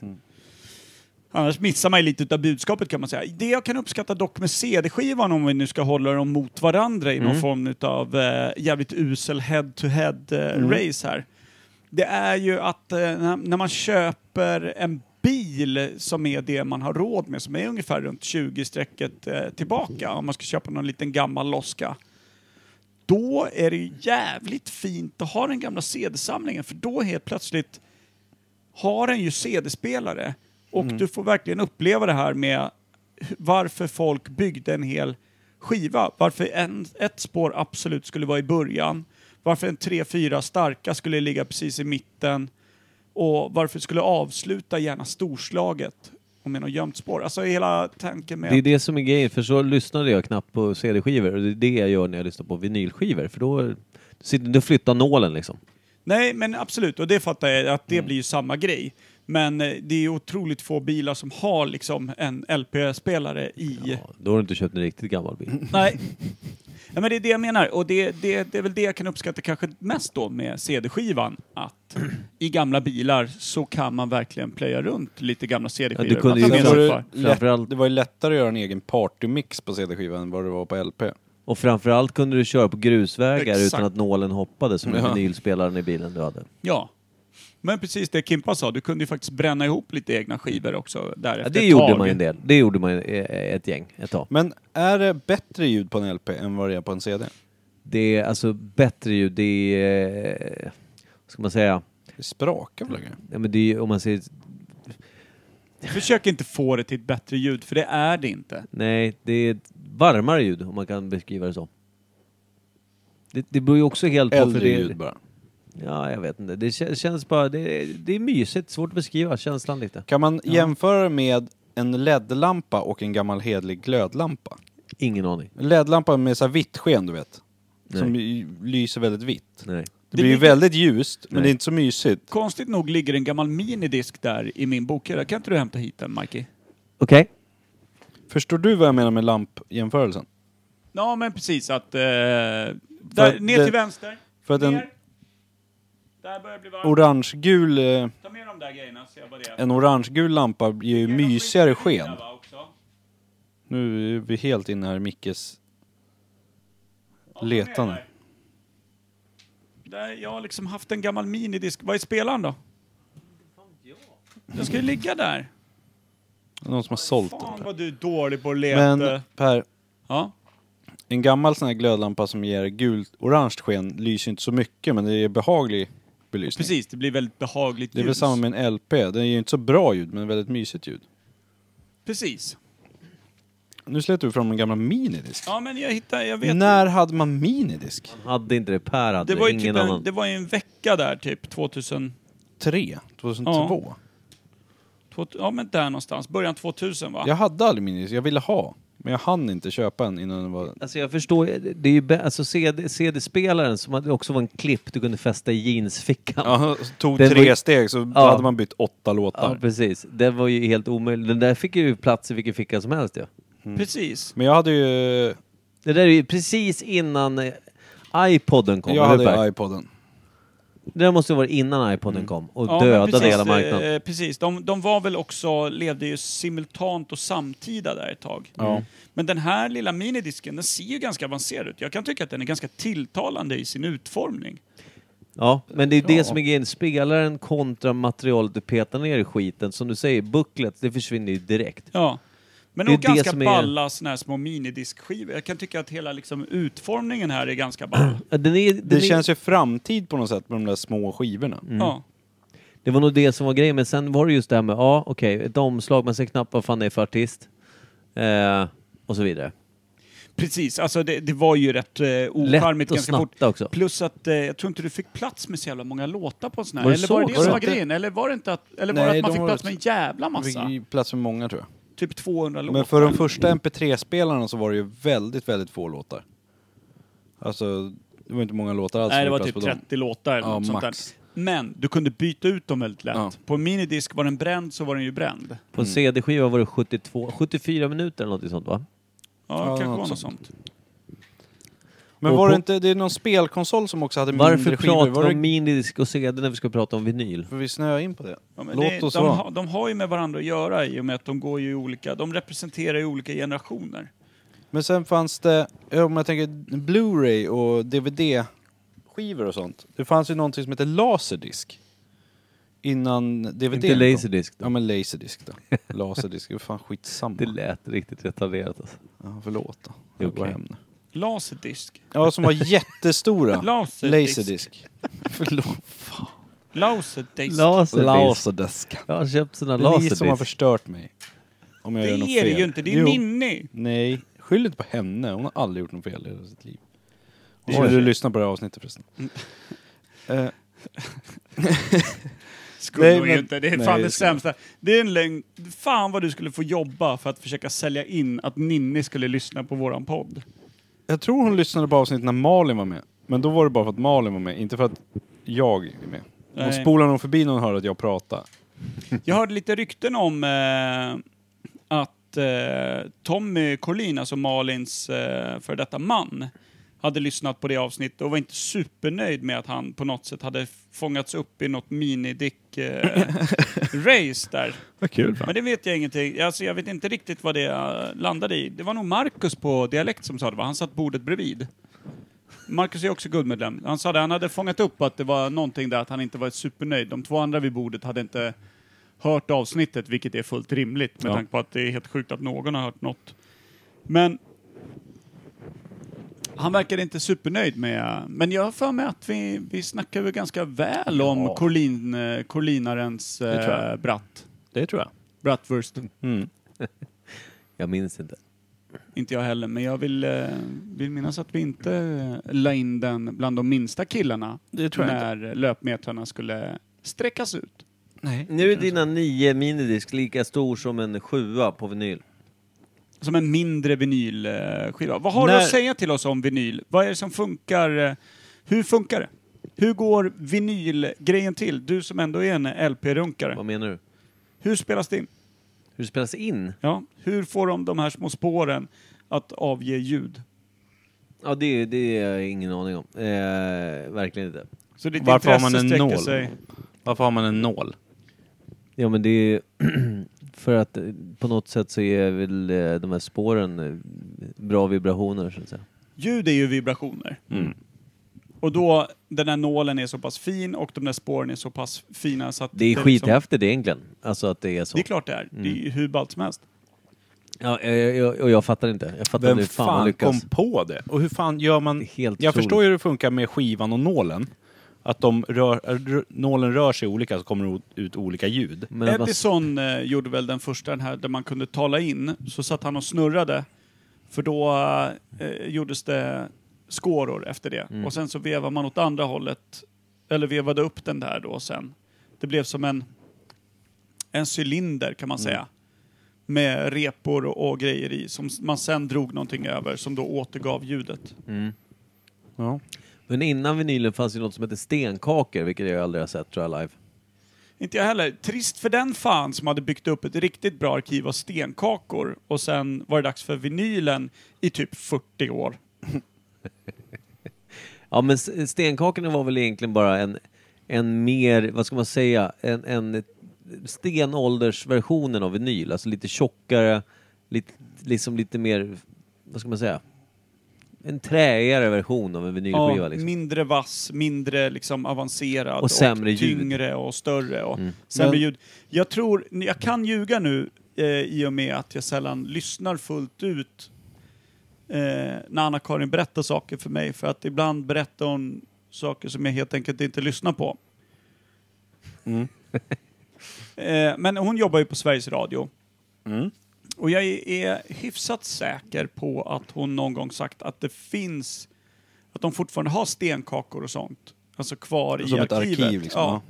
[SPEAKER 3] Annars missar man ju lite utav budskapet kan man säga. Det jag kan uppskatta dock med CD-skivan, om vi nu ska hålla dem mot varandra i någon form utav eh, jävligt usel head-to-head-race här. Det är ju att eh, när, när man köper en bil som är det man har råd med, som är ungefär runt 20-strecket eh, tillbaka, om man ska köpa någon liten gammal loska. Då är det ju jävligt fint att ha den gamla CD-samlingen, för då helt plötsligt har den ju CD-spelare. Och
[SPEAKER 2] Mm.
[SPEAKER 3] du får verkligen uppleva det här med hu- varför folk byggde en hel skiva. Varför en, ett spår absolut skulle vara i början. Varför en tre, fyra starka skulle ligga precis i mitten. Och varför skulle avsluta gärna storslaget och med något gömt spår. Alltså hela tanken med...
[SPEAKER 2] Det är det som är grejen, för så lyssnade jag knappt på CD-skivor och det är det jag gör när jag lyssnar på vinylskivor för då, sitter- då flyttar nålen liksom.
[SPEAKER 3] Nej, men absolut. Och det fattar jag, att
[SPEAKER 2] Mm.
[SPEAKER 3] det blir ju samma grej. Men eh, det är ju otroligt få bilar som har liksom en LP-spelare i...
[SPEAKER 2] Ja, då har du inte köpt en riktigt gammal bil. [LAUGHS]
[SPEAKER 3] Nej. Ja, men det är det jag menar. Och det, det, det är väl det jag kan uppskatta kanske mest då med CD-skivan. Att i gamla bilar så kan man verkligen plöja runt lite gamla CD-skivor.
[SPEAKER 2] Ja, du kunde
[SPEAKER 3] Man
[SPEAKER 2] ju
[SPEAKER 3] tar med
[SPEAKER 1] Sen
[SPEAKER 2] få-
[SPEAKER 1] var
[SPEAKER 3] sig
[SPEAKER 2] framför-
[SPEAKER 1] det,
[SPEAKER 3] kvar.
[SPEAKER 2] framförallt-
[SPEAKER 1] lätt, det var ju lättare att göra en egen partymix på CD-skivan än vad det var på LP.
[SPEAKER 2] Och framförallt kunde du köra på grusvägar
[SPEAKER 3] Exakt.
[SPEAKER 2] utan att nålen hoppade som
[SPEAKER 1] Ja.
[SPEAKER 2] en vinylspelaren i bilen du hade.
[SPEAKER 3] Ja. Men precis det Kimpa sa, du kunde ju faktiskt bränna ihop lite egna skivor också där
[SPEAKER 2] Ja,
[SPEAKER 3] efter
[SPEAKER 2] det
[SPEAKER 3] ett
[SPEAKER 2] gjorde
[SPEAKER 3] tag.
[SPEAKER 2] man ju en del. Det gjorde man ju eh, ett gäng, ett tag.
[SPEAKER 1] Men är det bättre ljud på en LP än vad det är på en CD?
[SPEAKER 2] Det är alltså bättre ljud, det är... eh, Vad ska man säga?
[SPEAKER 1] Det sprakar väl? grejer.
[SPEAKER 2] Ja, men det är, ju- om man säger...
[SPEAKER 3] Försök inte få det till ett bättre ljud, för det är det inte.
[SPEAKER 2] Nej, det är ett varmare ljud om man kan beskriva det så. Det, det beror ju också helt på... för
[SPEAKER 1] Äldre
[SPEAKER 2] det,
[SPEAKER 1] ljud bara.
[SPEAKER 2] Ja, jag vet inte. Det kä- känns bara... Det, det är mysigt. Svårt att beskriva känslan lite.
[SPEAKER 1] Kan man jämföra det med en LED-lampa och en gammal hedlig glödlampa?
[SPEAKER 2] Ingen aning.
[SPEAKER 1] En LED-lampa med så här vitt sken, du vet. Som i- lyser väldigt vitt.
[SPEAKER 2] Nej.
[SPEAKER 1] Det,
[SPEAKER 3] Det
[SPEAKER 1] blir ju
[SPEAKER 3] ligger-
[SPEAKER 1] väldigt ljust, men
[SPEAKER 2] Nej.
[SPEAKER 1] det är inte så mysigt.
[SPEAKER 3] Konstigt nog ligger en gammal minidisk där i min bokhylla. Kan inte du hämta hit den, Mikey?
[SPEAKER 2] Okej.
[SPEAKER 1] Förstår du vad jag menar med lampjämförelsen?
[SPEAKER 3] Ja, men precis att... Eh, där,
[SPEAKER 1] För
[SPEAKER 3] ner
[SPEAKER 1] det-
[SPEAKER 3] till vänster.
[SPEAKER 1] För att en
[SPEAKER 3] Ner. Där börjar det bli varmt.
[SPEAKER 1] orangegul, eh,
[SPEAKER 3] Ta med de där grejerna så jag vad det är.
[SPEAKER 1] en orangegul lampa ger ju
[SPEAKER 3] Ge dem
[SPEAKER 1] mysigare
[SPEAKER 3] lite
[SPEAKER 1] sken.
[SPEAKER 3] där, va, också.
[SPEAKER 1] Nu är vi helt inne här i Mickes
[SPEAKER 3] Ja, ta med den
[SPEAKER 1] letande.
[SPEAKER 3] där. Där, jag har liksom haft en gammal minidisk. Vad är spelaren då? Den ska ju ligga där.
[SPEAKER 1] Någon som har sålt den.
[SPEAKER 3] Fan vad du är dålig på att leta.
[SPEAKER 1] Men Per,
[SPEAKER 3] Ja.
[SPEAKER 1] en gammal sån här glödlampa som ger gult-orange sken lyser ju inte så mycket men det är behaglig belysning.
[SPEAKER 3] Precis, det blir väldigt behagligt
[SPEAKER 1] Det är väl
[SPEAKER 3] ljus.
[SPEAKER 1] samma med en LP, den ger inte så bra ljud men väldigt mysigt ljud.
[SPEAKER 3] Precis.
[SPEAKER 1] Nu slet du fram en gammal minidisk.
[SPEAKER 3] Ja, men jag hittade, jag vet
[SPEAKER 1] När hade man minidisk?
[SPEAKER 2] Hade inte det. Per hade
[SPEAKER 3] Det var, ju
[SPEAKER 2] Ingen
[SPEAKER 3] typ
[SPEAKER 2] annan.
[SPEAKER 3] en, det var ju en vecka där, typ 2000...
[SPEAKER 1] 3? 2002?
[SPEAKER 3] två- Ja, men där någonstans. Början 2000, va?
[SPEAKER 1] Jag hade aldrig minidisk, jag ville ha. Men jag hann inte köpa en innan den var...
[SPEAKER 2] Alltså jag förstår, det är ju bä- alltså CD, CD-spelaren som hade också var en klipp du kunde fästa i jeansfickan.
[SPEAKER 1] Ja, tog
[SPEAKER 2] Den var
[SPEAKER 1] tre
[SPEAKER 2] ju-
[SPEAKER 1] steg så
[SPEAKER 2] Ja.
[SPEAKER 1] hade man bytt åtta
[SPEAKER 2] Ja,
[SPEAKER 1] låtar.
[SPEAKER 2] precis. Den var ju helt omöjlig. Den där fick ju plats i vilken ficka som helst ja.
[SPEAKER 3] Precis.
[SPEAKER 1] Men jag hade ju...
[SPEAKER 2] Det där är ju precis innan eh, iPoden kom.
[SPEAKER 1] Jag
[SPEAKER 2] eller hur,
[SPEAKER 1] hade
[SPEAKER 2] Per?
[SPEAKER 1] ju iPoden.
[SPEAKER 2] Det där måste ju vara innan iPoden kom och
[SPEAKER 3] Ja, men
[SPEAKER 2] dödade
[SPEAKER 3] precis,
[SPEAKER 2] hela marknaden.
[SPEAKER 3] eh, precis. De, de var väl också, levde ju simultant och samtida där ett tag.
[SPEAKER 1] Ja.
[SPEAKER 2] Mm.
[SPEAKER 3] Men den här lilla minidisken, den ser ju ganska avancerad ut. Jag kan tycka att den är ganska tilltalande i sin utformning.
[SPEAKER 2] Ja, men det är ju
[SPEAKER 1] Ja.
[SPEAKER 2] det som är grejen. Spelaren kontra materialet du petar ner i skiten. Som du säger, bucklet, det försvinner ju direkt.
[SPEAKER 3] Ja. Men
[SPEAKER 2] Det är
[SPEAKER 3] och
[SPEAKER 2] det
[SPEAKER 3] ganska
[SPEAKER 2] som är-
[SPEAKER 3] balla såna här små minidiskskivor. Jag kan tycka att hela liksom, utformningen här är
[SPEAKER 2] [CLEARS THROAT]
[SPEAKER 3] ganska ball.
[SPEAKER 2] Ja, Den är, den
[SPEAKER 1] Det
[SPEAKER 2] är,
[SPEAKER 1] känns ju framtid på något sätt med de där små skivorna.
[SPEAKER 3] Ja.
[SPEAKER 2] det var nog det som var grejen, men sen var det just det här med, ja okej, ett omslag, man ser knappt vad fan det är för artist. Eh, och så vidare.
[SPEAKER 3] Precis, alltså det, det var ju rätt eh, ocharmigt
[SPEAKER 2] att
[SPEAKER 3] ganska
[SPEAKER 2] snatta
[SPEAKER 3] fort.
[SPEAKER 2] också.
[SPEAKER 3] Plus att eh, jag tror inte du fick plats med så jävla många låtar på en sån här.
[SPEAKER 2] Var det
[SPEAKER 3] eller
[SPEAKER 2] så?
[SPEAKER 3] var det det
[SPEAKER 1] Var
[SPEAKER 3] som
[SPEAKER 1] det
[SPEAKER 3] var
[SPEAKER 1] inte-
[SPEAKER 3] grejen? Eller var det inte att, eller var
[SPEAKER 1] Nej,
[SPEAKER 3] det att man
[SPEAKER 1] de
[SPEAKER 3] fick
[SPEAKER 1] har
[SPEAKER 3] plats
[SPEAKER 1] ett-
[SPEAKER 3] med en jävla
[SPEAKER 1] Man fick
[SPEAKER 3] massa?
[SPEAKER 1] ju plats för många tror jag.
[SPEAKER 3] Typ 200 låtar.
[SPEAKER 1] Men för de första MP3-spelarna så var det ju väldigt, väldigt få låtar. Alltså, det var inte många låtar alls som
[SPEAKER 3] Nej, det
[SPEAKER 1] fick
[SPEAKER 3] var
[SPEAKER 1] Alltså, plats på dem.
[SPEAKER 3] typ 30 låtar eller
[SPEAKER 1] Ja,
[SPEAKER 3] något sånt där.
[SPEAKER 1] max.
[SPEAKER 3] Men du kunde byta ut dem väldigt lätt.
[SPEAKER 1] Ja.
[SPEAKER 3] På en minidisk var den bränd så var den ju bränd.
[SPEAKER 2] På en CD-skiva var det 72, 74 minuter eller något sånt va?
[SPEAKER 3] Ja,
[SPEAKER 1] Ja,
[SPEAKER 3] det kanske
[SPEAKER 1] något
[SPEAKER 3] var något sånt.
[SPEAKER 1] sånt. Men
[SPEAKER 2] Och
[SPEAKER 1] var
[SPEAKER 2] på-
[SPEAKER 1] det inte, det är någon spelkonsol som också hade
[SPEAKER 2] Varför
[SPEAKER 1] mindre skivor.
[SPEAKER 2] pratar
[SPEAKER 1] Var
[SPEAKER 2] vi om
[SPEAKER 1] det...
[SPEAKER 2] minidisk och CD när vi ska prata om vinyl?
[SPEAKER 1] För vi snöar in på det.
[SPEAKER 3] Ja, men
[SPEAKER 1] Låt
[SPEAKER 3] det,
[SPEAKER 1] oss
[SPEAKER 3] de,
[SPEAKER 1] vara.
[SPEAKER 3] ha, de har ju med varandra att göra i och med att de går ju i olika, de representerar ju olika generationer.
[SPEAKER 1] Men sen fanns det, om jag tänker Blu-ray och DVD-skivor och sånt. Det fanns ju någonting som hette Laserdisk. Innan DVD
[SPEAKER 2] Inte Laserdisc
[SPEAKER 1] Ja
[SPEAKER 2] då?
[SPEAKER 1] men Laserdisk då.
[SPEAKER 2] [LAUGHS]
[SPEAKER 1] Laserdisk, det är fan skitsamma.
[SPEAKER 2] Det lät riktigt retarderat alltså.
[SPEAKER 1] Ja, förlåt då.
[SPEAKER 2] Det är
[SPEAKER 1] Jag går
[SPEAKER 2] okej.
[SPEAKER 1] hem nu.
[SPEAKER 3] Laserdisk.
[SPEAKER 1] Ja, som var jättestora.
[SPEAKER 3] [LAUGHS] Laserdisk.
[SPEAKER 1] Laserdisk. [LAUGHS] Förlåt.
[SPEAKER 3] Laserdisk.
[SPEAKER 2] Laserdisk.
[SPEAKER 1] Laserdisk.
[SPEAKER 2] Jag har köpt såna
[SPEAKER 1] Det är ni som har
[SPEAKER 2] laserdisk.
[SPEAKER 1] förstört mig. Om jag
[SPEAKER 3] det
[SPEAKER 1] gör något
[SPEAKER 3] är
[SPEAKER 1] fel.
[SPEAKER 3] det ju inte, det är
[SPEAKER 1] Jo.
[SPEAKER 3] Ninni.
[SPEAKER 1] Nej, skyll inte på henne. Hon har aldrig gjort något fel i hela sitt liv.
[SPEAKER 3] Oj.
[SPEAKER 1] Om du lyssnar på det här avsnittet förresten. Eh,
[SPEAKER 3] Skulle
[SPEAKER 1] Nej,
[SPEAKER 3] nog
[SPEAKER 1] men-
[SPEAKER 3] inte. Det är
[SPEAKER 1] nej,
[SPEAKER 3] fan det,
[SPEAKER 1] det skulle-
[SPEAKER 3] sämsta. Det är en lögn. Fan vad du skulle få jobba för att försöka sälja in att Ninni skulle lyssna på våran podd.
[SPEAKER 1] jag tror hon lyssnade på avsnittet när Malin var med. Men då var det bara för att Malin var med, inte för att jag är med. Hon
[SPEAKER 3] Nej.
[SPEAKER 1] spolar nog förbi när hon hör att jag pratar.
[SPEAKER 3] Jag hörde lite rykten om eh, att eh, Tommy Collin, alltså Malins eh, för detta man, hade lyssnat på det avsnittet och var inte supernöjd med att han på något sätt hade fångats upp i något minidick-race där.
[SPEAKER 1] Vad kul.
[SPEAKER 3] Men det vet jag ingenting. Alltså, jag vet inte riktigt vad det eh, landade i. Det var nog Marcus på Dialekt som sa det, va? Han satt bordet bredvid. Marcus är också guldmedlem. Han sa det, han hade fångat upp att det var någonting där att han inte var supernöjd. De två andra vid bordet hade inte hört avsnittet, vilket är fullt rimligt med
[SPEAKER 1] Ja.
[SPEAKER 3] tanke på att det är helt sjukt att någon har hört något. Men han verkade inte supernöjd med... Men jag har för mig att vi, vi snackade väl ganska väl om
[SPEAKER 1] Ja.
[SPEAKER 3] Collin, eh, Collinarens
[SPEAKER 1] tror jag.
[SPEAKER 3] eh, Bratt.
[SPEAKER 1] Det tror jag.
[SPEAKER 3] Bratwurst.
[SPEAKER 1] Mm.
[SPEAKER 2] Jag minns inte.
[SPEAKER 3] Inte jag heller, men jag vill, eh, vill minnas att vi inte eh, la in den bland de minsta killarna
[SPEAKER 1] Det tror jag inte.
[SPEAKER 3] när löpmetrarna skulle sträckas ut.
[SPEAKER 1] Nej.
[SPEAKER 2] Nu är dina nio minidisk lika stor som en sjua på vinyl.
[SPEAKER 3] Som en mindre vinylskiva. Vad har
[SPEAKER 1] När-
[SPEAKER 3] du att säga till oss om vinyl? Vad är det som funkar? eh, Hur funkar det? Hur går vinylgrejen till? Du som ändå är en
[SPEAKER 2] Vad
[SPEAKER 3] LP-runkare.
[SPEAKER 2] menar du?
[SPEAKER 3] Hur spelas det in?
[SPEAKER 2] Hur spelas in?
[SPEAKER 3] Ja. Hur får de de här små spåren att avge ljud?
[SPEAKER 2] Ja, det, det är jag ingen aning om. Eh, verkligen inte.
[SPEAKER 3] Så ditt
[SPEAKER 1] Varför har
[SPEAKER 3] intresse
[SPEAKER 1] man en
[SPEAKER 3] sträcker
[SPEAKER 1] nål? Varför har man en nål?
[SPEAKER 2] Ja, men det är [CLEARS THROAT] för att eh, på något sätt så är väl eh, de här spåren eh, bra vibrationer, så att säga.
[SPEAKER 3] Ljud är ju vibrationer.
[SPEAKER 2] Mm.
[SPEAKER 3] Och då, den här nålen är så pass fin och de där spåren är så pass fina så att...
[SPEAKER 2] Det är
[SPEAKER 3] liksom,
[SPEAKER 2] skithäftigt Mm. egentligen. Alltså att det är så.
[SPEAKER 3] Det är klart det är. Det är ju hur ballt som helst.
[SPEAKER 2] Ja, jag, jag, och jag fattar inte. Jag fattar
[SPEAKER 1] Vem
[SPEAKER 2] inte hur fan man
[SPEAKER 1] fan kom
[SPEAKER 2] lyckas.
[SPEAKER 1] på det? Och hur fan gör man...
[SPEAKER 2] Det är helt
[SPEAKER 1] jag
[SPEAKER 2] otroligt.
[SPEAKER 1] förstår ju hur det funkar med skivan och nålen. Att de rör, äh, rö- nålen rör sig olika så kommer det ut olika ljud.
[SPEAKER 2] Men att man-
[SPEAKER 3] Edison eh, gjorde väl den första den här där man kunde tala in, så satt han och snurrade. För då eh, gjordes det skåror efter det. Och sen så vevade man åt andra hållet, eller vevade upp den där då sen. Det blev som en, en cylinder kan man säga. Med repor och, och grejer i som s- man sen drog någonting över som då återgav ljudet.
[SPEAKER 1] Ja.
[SPEAKER 2] Mm. Men innan vinylen fanns ju något som hette stenkakor, vilket jag aldrig har sett tror jag live.
[SPEAKER 3] Inte jag heller. Trist för den fan som hade byggt upp ett riktigt bra arkiv av stenkakor och sen var det dags för vinylen i typ 40 år.
[SPEAKER 2] Ja men s- stenkakorna var väl egentligen bara en, en mer, vad ska man säga, en, en stenåldersversionen av vinyl. Alltså lite tjockare, lite, liksom lite mer, vad ska man säga, en träigare version av en vinylskiva.
[SPEAKER 3] Ja,
[SPEAKER 2] liksom.
[SPEAKER 3] Mindre vass, mindre liksom avancerad
[SPEAKER 2] Och sämre ljud. Mm.
[SPEAKER 3] tyngre och större och sämre
[SPEAKER 1] Men-
[SPEAKER 3] ljud. Jag tror, jag kan ljuga nu eh, i och med att jag sällan lyssnar fullt ut eh, när Anna-Karin berättar saker för mig för att ibland berättar hon saker som jag helt enkelt inte lyssnar på.
[SPEAKER 1] Mm.
[SPEAKER 3] [LAUGHS] Eh, men hon jobbar ju på Sveriges Radio.
[SPEAKER 1] Mm.
[SPEAKER 3] Och jag är- är hyfsat säker på att hon någon gång sagt att det finns, att de fortfarande har stenkakor och sånt. Alltså kvar
[SPEAKER 1] Som
[SPEAKER 3] i
[SPEAKER 1] ett
[SPEAKER 3] arkivet.
[SPEAKER 1] arkiv, liksom, ja.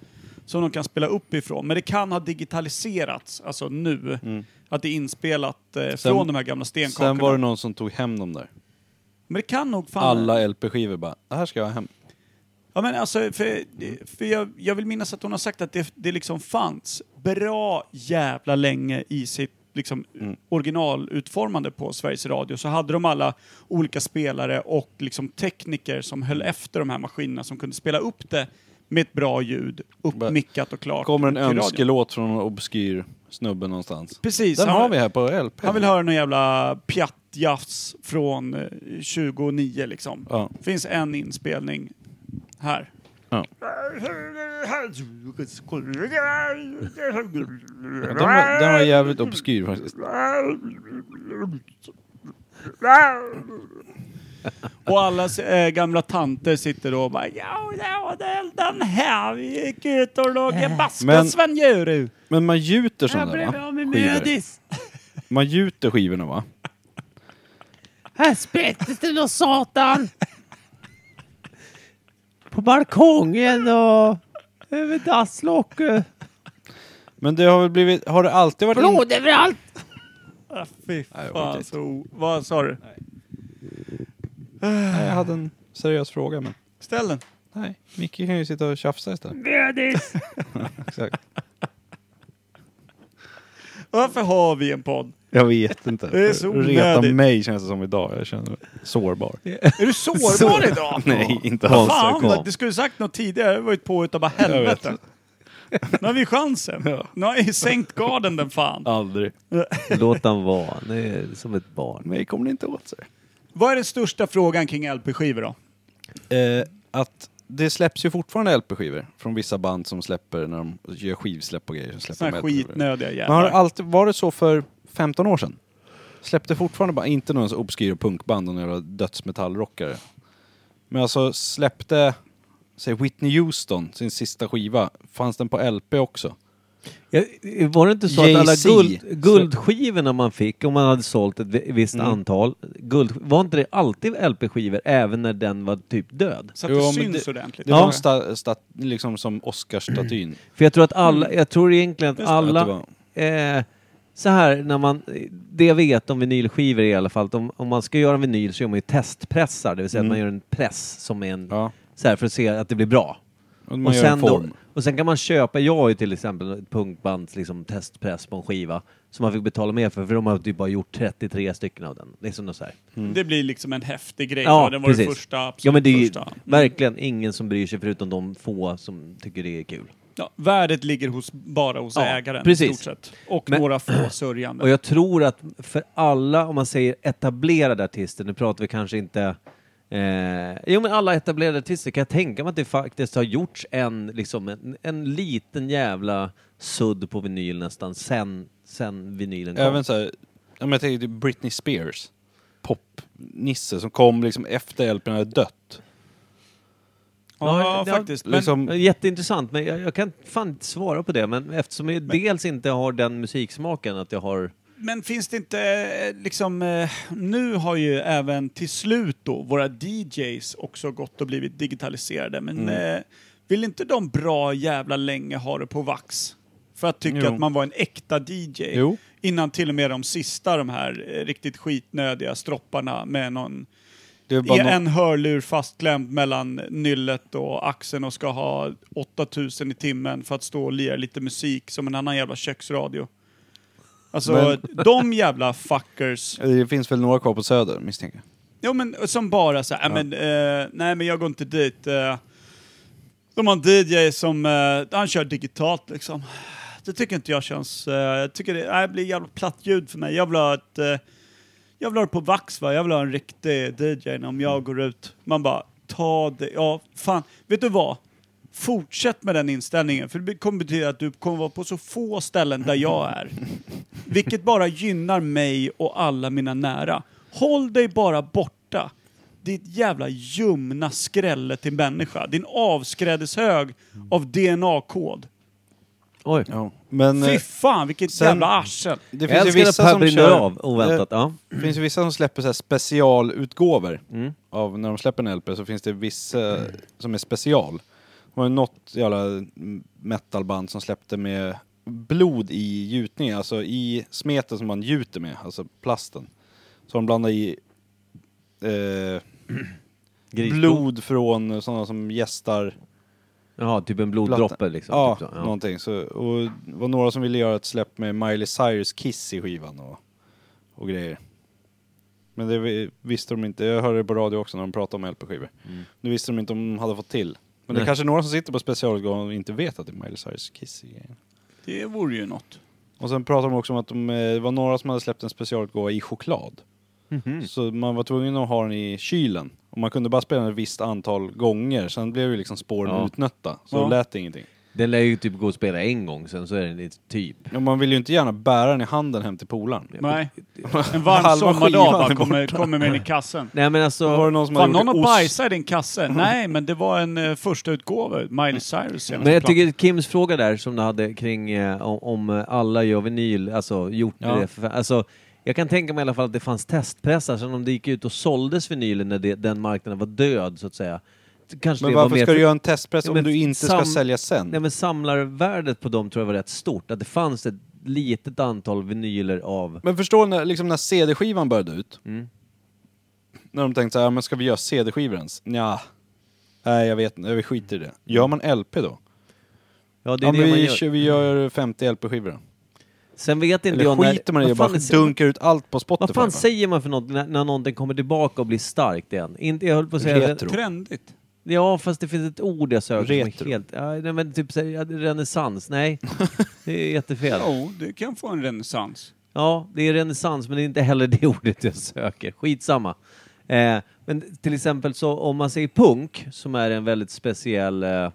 [SPEAKER 3] Som de kan spela upp ifrån. Men det kan ha digitaliserats, alltså nu. Att det är inspelat eh, från de här gamla stenkakorna.
[SPEAKER 1] Mm. Sen var det någon som tog hem dem där.
[SPEAKER 3] Men det kan nog fan...
[SPEAKER 1] Alla LP-skivor bara, det här ska jag ha hem.
[SPEAKER 3] Ja, men alltså, för, för jag, jag vill minnas att hon har sagt att det, det liksom fanns bra jävla länge i sitt liksom,
[SPEAKER 1] Mm.
[SPEAKER 3] originalutformande på Sveriges Radio. Så hade de alla olika spelare och liksom, tekniker som höll
[SPEAKER 1] Mm.
[SPEAKER 3] efter de här maskinerna som kunde spela upp det med ett bra ljud, uppmickat och klart.
[SPEAKER 1] Kommer en
[SPEAKER 3] till radion.
[SPEAKER 1] önskelåt från en obskyr snubbe någonstans.
[SPEAKER 3] Precis.
[SPEAKER 1] Den
[SPEAKER 3] han-
[SPEAKER 1] har vi här på LP.
[SPEAKER 3] han vill höra någon jävla pjattjafs från eh, 29 liksom.
[SPEAKER 1] Ja.
[SPEAKER 3] Finns en inspelning här.
[SPEAKER 1] Ja. Den var, den var jävligt obskyr faktiskt.
[SPEAKER 3] Och alla eh, gamla tanter sitter då och bara ja, ja, det- den här, vi gick ut och låg i
[SPEAKER 1] Men-
[SPEAKER 3] basken Sven-Djuru.
[SPEAKER 1] Men man gjuter sådana där va? Skivor. Man gjuter skivorna va?
[SPEAKER 2] Här sprättes det någon satan! På balkongen och över dasslocket.
[SPEAKER 1] Men det har väl blivit, har det alltid varit... in-
[SPEAKER 2] överallt!
[SPEAKER 3] Ah, fy
[SPEAKER 1] Nej,
[SPEAKER 3] fan,
[SPEAKER 1] okej.
[SPEAKER 3] så, vad sa du?
[SPEAKER 1] Nej, jag hade en seriös fråga men.
[SPEAKER 3] Ställ den.
[SPEAKER 1] Nej, Micke kan ju sitta och tjafsa
[SPEAKER 2] [LAUGHS]
[SPEAKER 1] istället.
[SPEAKER 2] Bödis!
[SPEAKER 1] Exakt.
[SPEAKER 3] Varför har vi
[SPEAKER 1] [LAUGHS]
[SPEAKER 3] en podd?
[SPEAKER 1] Jag vet inte.
[SPEAKER 3] Det är så
[SPEAKER 1] Reta
[SPEAKER 3] onödigt.
[SPEAKER 1] mig känns det som idag. Jag känner mig sårbar.
[SPEAKER 3] Är du sårbar idag?
[SPEAKER 1] Nej, inte alls.
[SPEAKER 3] Fan,
[SPEAKER 2] kom.
[SPEAKER 3] vad, du skulle sagt något tidigare. Jag har varit på utav bara helvete. Nu har vi chansen. Nu har jag sänkt garden den fan.
[SPEAKER 1] Aldrig.
[SPEAKER 2] [LAUGHS] Låt han vara, han är som ett barn.
[SPEAKER 1] Mig kommer det inte åt sig.
[SPEAKER 3] Vad är den största frågan kring LP-skivor då?
[SPEAKER 1] Eh, att det släpps ju fortfarande LP-skivor från vissa band som släpper när de gör skivsläpp och grejer. Så släpper
[SPEAKER 3] Såna här
[SPEAKER 1] de LP-skivor.
[SPEAKER 3] skitnödiga
[SPEAKER 1] Men har det
[SPEAKER 3] jävlar.
[SPEAKER 1] alltid varit så för 15 år sedan? Släppte fortfarande bara, inte någon så obskyr punkband och några dödsmetallrockare. Men alltså släppte, säg Whitney Houston, sin sista skiva, fanns den på LP också?
[SPEAKER 2] Ja, Var det inte så att
[SPEAKER 1] Jay-Z.
[SPEAKER 2] alla guld, guldskivorna man fick, om man hade sålt ett vi- visst antal, guld, var inte det alltid LP-skivor även när den var typ död?
[SPEAKER 3] Så att
[SPEAKER 1] Jo,
[SPEAKER 3] det
[SPEAKER 1] men
[SPEAKER 3] syns
[SPEAKER 1] det-
[SPEAKER 3] ordentligt.
[SPEAKER 1] Det var en sta, sta, liksom som Oscarsstatyn.
[SPEAKER 2] För jag tror att alla, jag tror egentligen att
[SPEAKER 1] Mm. Just det, att
[SPEAKER 2] alla,
[SPEAKER 1] det
[SPEAKER 2] eh, så här när man, det jag vet om vinylskivor i alla fall, att om, om man ska göra en vinyl så gör man ju testpressar, det vill säga att man gör en press som är en,
[SPEAKER 1] Ja.
[SPEAKER 2] så här för att se att det blir bra.
[SPEAKER 1] Och man
[SPEAKER 2] Och
[SPEAKER 1] gör
[SPEAKER 2] sen,
[SPEAKER 1] en
[SPEAKER 2] då,
[SPEAKER 1] form.
[SPEAKER 2] och sen kan man köpa, jag har ju till exempel ett punkbands liksom, testpress på en skiva som man fick betala mer för, för de har typ bara gjort 33 stycken av den. Liksom något så här.
[SPEAKER 3] Det blir liksom en häftig grej. Ja, den var den första, absolut
[SPEAKER 2] ja, men det är ju
[SPEAKER 3] första. Mm.
[SPEAKER 2] verkligen ingen som bryr sig förutom de få som tycker det är kul.
[SPEAKER 3] Ja, värdet ligger hos, bara hos
[SPEAKER 2] Ja,
[SPEAKER 3] ägaren
[SPEAKER 2] precis.
[SPEAKER 3] i stort sett. Och
[SPEAKER 2] Men-
[SPEAKER 3] några få sörjande.
[SPEAKER 2] Och jag tror att för alla, om man säger etablerade artister, nu pratar vi kanske inte Eh, jo men alla etablerade artister kan jag tänka mig att det faktiskt har gjorts en, liksom, en, en liten jävla sudd på vinyl nästan sen, sen vinylen kom.
[SPEAKER 1] Även såhär, jag tänker typ Britney Spears. Popnisse som kom liksom efter LPn hade dött.
[SPEAKER 3] ja,
[SPEAKER 2] Ja, det-
[SPEAKER 3] faktiskt. Men,
[SPEAKER 1] liksom,
[SPEAKER 2] Ja, Jätteintressant, men jag, jag kan fan inte svara på det. Men eftersom jag dels inte har den musiksmaken att jag har...
[SPEAKER 3] men finns det inte eh, liksom... eh, Nu har ju även till slut då våra DJs också gått och blivit digitaliserade. Men
[SPEAKER 1] Mm.
[SPEAKER 3] eh, vill inte de bra jävla länge ha det på vax? För att tycka
[SPEAKER 1] Jo.
[SPEAKER 3] att man var en äkta DJ.
[SPEAKER 1] Jo.
[SPEAKER 3] Innan till och med de sista, de här eh, riktigt skitnödiga stropparna med någon
[SPEAKER 1] det är
[SPEAKER 3] I
[SPEAKER 1] bara no-
[SPEAKER 3] en hörlur fastklämd mellan nyllet och axeln och ska ha 8000 i timmen för att stå och lira lite musik som en annan jävla köksradio. Alltså, de
[SPEAKER 1] [LAUGHS]
[SPEAKER 3] jävla fuckers.
[SPEAKER 1] Det finns väl några kvar på Söder misstänker jag.
[SPEAKER 3] Jo men som bara så här, "Äh, men, eh, nej men jag går inte dit. eh." de har en DJ som, eh, han kör digitalt liksom. Det tycker inte jag känns, eh, jag tycker det, nej, det blir jävla platt ljud för mig. Jag vill ha ett, eh, jag vill ha det på vax va, jag vill ha en riktig DJ när om jag går ut. Man bara, ta det, ja fan, vet du vad? Fortsätt med den inställningen, för det kommer betyda att du kommer vara på så få ställen där jag är. Vilket bara gynnar mig och alla mina nära. Håll dig bara borta. Ditt jävla ljumna skrälle till människa. Din avskrädeshög av DNA-kod.
[SPEAKER 2] Oj.
[SPEAKER 1] Ja. Men eh,
[SPEAKER 3] Fy fan vilket
[SPEAKER 1] sen-
[SPEAKER 3] jävla arsel.
[SPEAKER 1] det
[SPEAKER 2] Jag
[SPEAKER 1] finns ju
[SPEAKER 2] älskar
[SPEAKER 1] vissa
[SPEAKER 2] när Per
[SPEAKER 1] som
[SPEAKER 2] brinner
[SPEAKER 1] kör...
[SPEAKER 2] av, oväntat. Ja.
[SPEAKER 1] Det Mm. finns ju vissa som släpper så här specialutgåvor. Av när de släpper en LP så finns det vissa som är special. Det var ju något jävla metalband som släppte med blod i gjutningen, alltså i smeten som man gjuter med, alltså plasten. Så de blandade i eh,
[SPEAKER 2] Grisblod.
[SPEAKER 1] blod från sådana som gästar
[SPEAKER 2] Jaha, typ en bloddroppe
[SPEAKER 1] plattan.
[SPEAKER 2] liksom.
[SPEAKER 1] Ja,
[SPEAKER 2] typ så. ja.
[SPEAKER 1] någonting. Så, och det var några som ville göra ett släpp med Miley Cyrus Kiss i skivan och, och grejer. Men det vi- visste de inte. Jag hörde det på radio också när de pratade om LP-skivor. Nu visste de inte om de hade fått till. Men
[SPEAKER 2] Mm.
[SPEAKER 1] det
[SPEAKER 2] Nej.
[SPEAKER 1] är kanske är några som sitter på specialutgåvan och inte vet att det är Miley Cyrus Kiss i grejen.
[SPEAKER 3] Det vore ju något.
[SPEAKER 1] Och sen pratade de också om att de, eh, det var några som hade släppt en specialutgåva i choklad.
[SPEAKER 2] Mhm.
[SPEAKER 1] Så man var tvungen att ha den i kylen. Och man kunde bara spela den ett visst antal gånger. Sen blev ju liksom spåren
[SPEAKER 2] Ja.
[SPEAKER 1] utnötta. Så
[SPEAKER 3] Ja.
[SPEAKER 1] då lät det ingenting.
[SPEAKER 2] Den lär ju typ gå och spela en gång, sen så är den lite typ...
[SPEAKER 1] Ja, man vill ju inte gärna bära den i handen hem till polaren.
[SPEAKER 3] Nej. En varm
[SPEAKER 1] Halva
[SPEAKER 3] sommardag
[SPEAKER 1] skivan
[SPEAKER 3] bara
[SPEAKER 1] är
[SPEAKER 3] kommer, kommer med den i kassen.
[SPEAKER 2] Nej men
[SPEAKER 1] Var det
[SPEAKER 2] alltså...
[SPEAKER 1] någon som
[SPEAKER 3] Fan,
[SPEAKER 1] hade
[SPEAKER 3] någon har
[SPEAKER 1] gjort ost? Mm.
[SPEAKER 3] bajsat i din kasse. Nej, men det var en eh, första utgåva. Miley Cyrus senaste
[SPEAKER 2] Men jag
[SPEAKER 3] platta.
[SPEAKER 2] tycker Kims fråga där som du hade kring eh, om, om alla gör vinyl, alltså gjort
[SPEAKER 1] Ja.
[SPEAKER 2] det för, alltså, jag kan tänka mig i alla fall att det fanns testpressar, sen om det gick ut och såldes vinylen när det, den marknaden var död så att säga. Kanske
[SPEAKER 1] Men
[SPEAKER 2] det var
[SPEAKER 1] varför
[SPEAKER 2] mer
[SPEAKER 1] ska
[SPEAKER 2] för-
[SPEAKER 1] du göra en testpress
[SPEAKER 2] Ja,
[SPEAKER 1] om
[SPEAKER 2] men
[SPEAKER 1] du inte ska
[SPEAKER 2] sam-
[SPEAKER 1] sälja sen?
[SPEAKER 2] Nej men samlarvärdet på dem tror jag var rätt stort, att det fanns ett litet antal vinyler av...
[SPEAKER 1] Men förstår när, liksom när CD-skivan började ut?
[SPEAKER 2] Mm.
[SPEAKER 1] När de tänkte så här, "Ja, men ska vi göra CD-skivor ens? Nja. Nej, jag vet inte. Vi skiter i det. Gör man LP då?
[SPEAKER 2] Ja, det är
[SPEAKER 1] Ja,
[SPEAKER 2] det
[SPEAKER 1] men
[SPEAKER 2] man
[SPEAKER 1] vi,
[SPEAKER 2] gör. Mm.
[SPEAKER 1] kör- vi gör 50 LP-skivor då.
[SPEAKER 2] Sen vet inte
[SPEAKER 1] Eller
[SPEAKER 2] jag
[SPEAKER 1] skiter man i det
[SPEAKER 2] vad fan
[SPEAKER 1] bara
[SPEAKER 2] är-
[SPEAKER 1] dunkar ut allt på Spotify?
[SPEAKER 2] Vad fan
[SPEAKER 1] va?
[SPEAKER 2] säger man för något när, när någonting kommer tillbaka och blir starkt igen? Inte, jag höll på att säga...
[SPEAKER 1] Retro.
[SPEAKER 3] Trendigt.
[SPEAKER 2] Ja, fast det finns ett ord jag söker som
[SPEAKER 1] Retro.
[SPEAKER 2] är helt... Ja, nej, men typ så här, ja, renässans.
[SPEAKER 1] [LAUGHS]
[SPEAKER 2] Nej, det är jättefel.
[SPEAKER 3] Jo, det kan få en renässans.
[SPEAKER 2] Ja, det är renässans, men det är inte heller det [LAUGHS] ordet jag söker. Skitsamma. Eh, men till exempel så om man säger punk, som är en väldigt speciell... Eh, eh,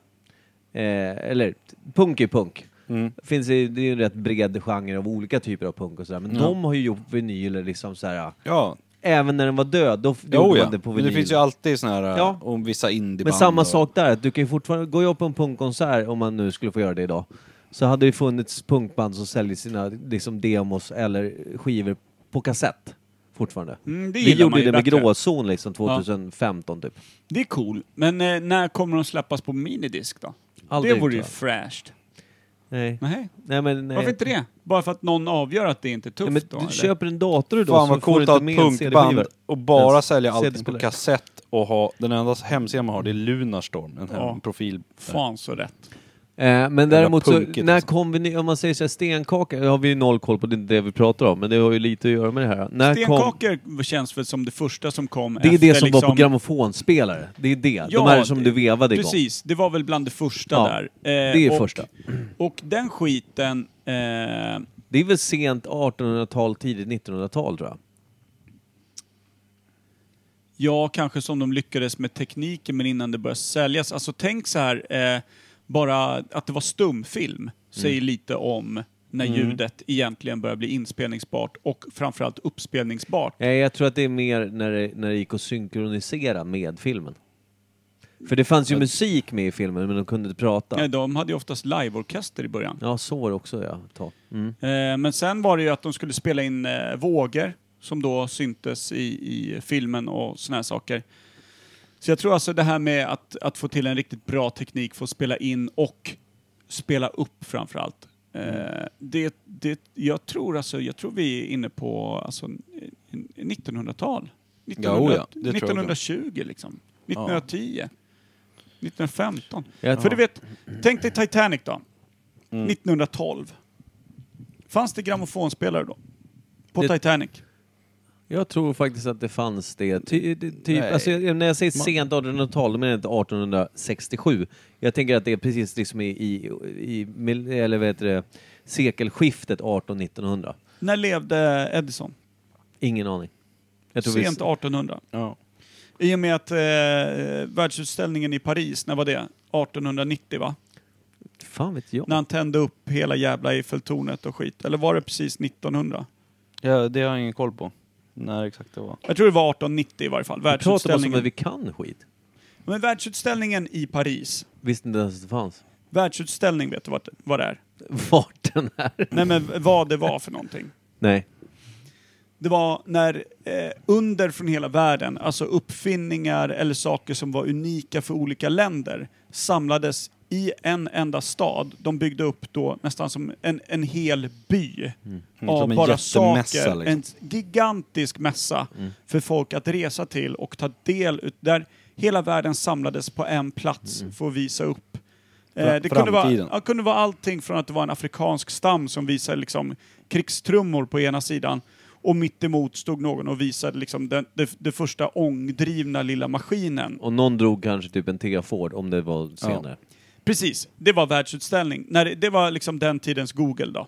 [SPEAKER 2] eller, punk är punk.
[SPEAKER 1] Mm.
[SPEAKER 2] Finns i, det är ju en rätt bred genre av olika typer av punk och sådär. Men de har ju gjort vinyler liksom så här.
[SPEAKER 1] Ja,
[SPEAKER 2] Även när den var död, då f-
[SPEAKER 1] jo,
[SPEAKER 2] gjorde
[SPEAKER 1] ja.
[SPEAKER 2] man det på
[SPEAKER 1] Men
[SPEAKER 2] vinyl.
[SPEAKER 1] det finns ju alltid såna här eh,
[SPEAKER 2] Ja.
[SPEAKER 1] om vissa indieband.
[SPEAKER 2] Men samma
[SPEAKER 1] och-
[SPEAKER 2] sak där, att du kan ju fortfarande, går jag på en punkkonsert om man nu skulle få göra det idag så hade det funnits punkband som säljer sina liksom, demos eller skivor på kassett fortfarande.
[SPEAKER 3] Mm, det
[SPEAKER 2] Vi
[SPEAKER 3] gillar
[SPEAKER 2] gjorde
[SPEAKER 3] man
[SPEAKER 2] det
[SPEAKER 3] ju
[SPEAKER 2] med
[SPEAKER 3] bättre.
[SPEAKER 2] Gråzon liksom 2015 typ.
[SPEAKER 3] Det är cool. Men eh, när kommer de släppas på minidisk då?
[SPEAKER 2] Aldrig,
[SPEAKER 3] det vore ju
[SPEAKER 2] tror jag.
[SPEAKER 3] fräscht.
[SPEAKER 2] Nej.
[SPEAKER 3] Nej.
[SPEAKER 2] Nej, men, nej.
[SPEAKER 3] Varför inte det? Bara för att någon avgör att det inte är tufft
[SPEAKER 2] Nej, men
[SPEAKER 3] då?
[SPEAKER 2] du
[SPEAKER 3] eller?
[SPEAKER 2] köper en dator då
[SPEAKER 1] Fan
[SPEAKER 2] så
[SPEAKER 1] vad
[SPEAKER 2] får du
[SPEAKER 1] coolt
[SPEAKER 2] inte
[SPEAKER 1] att ha
[SPEAKER 2] med
[SPEAKER 1] ett
[SPEAKER 2] en CD-skivor.
[SPEAKER 1] punkband och bara
[SPEAKER 2] Ens
[SPEAKER 1] sälja allting på
[SPEAKER 2] CD-spelare.
[SPEAKER 1] kassett och ha, den enda hemsidan man har det är Lunarstorm, en hem,
[SPEAKER 3] Ja.
[SPEAKER 1] profil.
[SPEAKER 3] Fan så rätt.
[SPEAKER 2] Eh, men däremot så,
[SPEAKER 1] punkigt,
[SPEAKER 2] när
[SPEAKER 1] alltså.
[SPEAKER 2] kom vi, ny- om man säger så här, stenkaka, det har vi ju noll koll på, det är inte det vi pratar om, men det har ju lite att göra med det här. När kom,
[SPEAKER 3] Stenkakor känns väl som det första som kom
[SPEAKER 2] det är
[SPEAKER 3] efter
[SPEAKER 2] det som var
[SPEAKER 3] liksom-
[SPEAKER 2] på grammofonspelare, det är det.
[SPEAKER 3] Ja,
[SPEAKER 2] De här som du
[SPEAKER 3] det-
[SPEAKER 2] vevade igång.
[SPEAKER 3] Precis, det var väl bland det första
[SPEAKER 2] Ja,
[SPEAKER 3] där. Eh,
[SPEAKER 2] det är
[SPEAKER 3] och,
[SPEAKER 2] första.
[SPEAKER 3] Och den skiten... Eh,
[SPEAKER 2] Det är väl sent 1800-tal, tidigt 1900-tal tror jag.
[SPEAKER 3] Ja, kanske som de lyckades med tekniken, men innan det började säljas. Alltså tänk så här, eh, bara att det var stumfilm säger lite om när ljudet egentligen börjar bli inspelningsbart och framförallt uppspelningsbart.
[SPEAKER 2] Nej, jag tror att det är mer när det, när det gick att synkronisera med filmen. För det fanns ju musik med i filmen, men de kunde inte
[SPEAKER 3] Nej,
[SPEAKER 2] prata.
[SPEAKER 3] Eh, de hade ju oftast liveorkester i början.
[SPEAKER 2] Ja, så var det också ja. Ta. Mm.
[SPEAKER 3] Eh, men sen var det ju att de skulle spela in eh, vågor som då syntes i, i filmen och såna här saker. Så jag tror alltså det här med att, att få till en riktigt bra teknik för att spela in och spela upp framförallt. Eh, det, det, jag, tror alltså, jag tror vi är inne på alltså, en- en- 1900-tal.
[SPEAKER 1] Ja, oh ja, det tror jag
[SPEAKER 3] 1920 liksom. 1910. 1915.
[SPEAKER 2] Jag-
[SPEAKER 3] För du vet, tänk dig Titanic då.
[SPEAKER 2] Mm.
[SPEAKER 3] 1912. Fanns det grammofonspelare då? På
[SPEAKER 2] Det-
[SPEAKER 3] Titanic?
[SPEAKER 2] Jag tror faktiskt att det fanns det. Ty, det- typ,
[SPEAKER 1] Nej.
[SPEAKER 2] alltså, jag- när jag säger sent 1800-tal, då menar jag inte 1867. Jag tänker att det är precis liksom i, i, i mil- eller vad heter det, sekelskiftet 1800-1900.
[SPEAKER 3] När levde Edison?
[SPEAKER 2] Ingen aning. Jag tror vi-
[SPEAKER 3] Sent 1800.
[SPEAKER 1] Ja.
[SPEAKER 3] I och med att eh, världsutställningen i Paris, när var det? 1890 va?
[SPEAKER 2] Fan vet jag.
[SPEAKER 3] När han tände upp hela jävla Eiffeltornet och skit. Eller var det precis 1900?
[SPEAKER 1] ja, det har jag ingen koll på. När exakt det var.
[SPEAKER 3] Jag tror det var 1890 i varje fall.
[SPEAKER 2] Vi pratar bara som att
[SPEAKER 3] Världsutställningen.
[SPEAKER 2] vi kan skit.
[SPEAKER 3] Men världsutställningen i Paris.
[SPEAKER 2] Visste inte ens att det fanns.
[SPEAKER 3] Världsutställning vet du vad det- vad det är?
[SPEAKER 2] Vart den är.
[SPEAKER 3] Nej men vad det var för någonting.
[SPEAKER 2] Nej.
[SPEAKER 3] Det var när eh, under från hela världen, alltså uppfinningar eller saker som var unika för olika länder, samlades i en enda stad. De byggde upp då nästan som en, en hel by
[SPEAKER 1] Mm. Som
[SPEAKER 3] av
[SPEAKER 1] en
[SPEAKER 3] bara
[SPEAKER 1] jättemässa,
[SPEAKER 3] saker.
[SPEAKER 1] liksom. Mm.
[SPEAKER 3] En gigantisk mässa för folk att resa till och ta del ut där hela världen samlades på en plats för att visa upp. Eh,
[SPEAKER 1] Mm. Fra-
[SPEAKER 3] det kunde vara,
[SPEAKER 1] framtiden.
[SPEAKER 3] ja, kunde vara allting från att det var en afrikansk stam som visade liksom krigstrummor på ena sidan och mitt emot stod någon och visade liksom den, det, det första ångdrivna lilla maskinen.
[SPEAKER 2] Och någon drog kanske typ en T-Ford om det var senare.
[SPEAKER 3] Precis, det var världsutställning. När det, det var liksom den tidens Google då.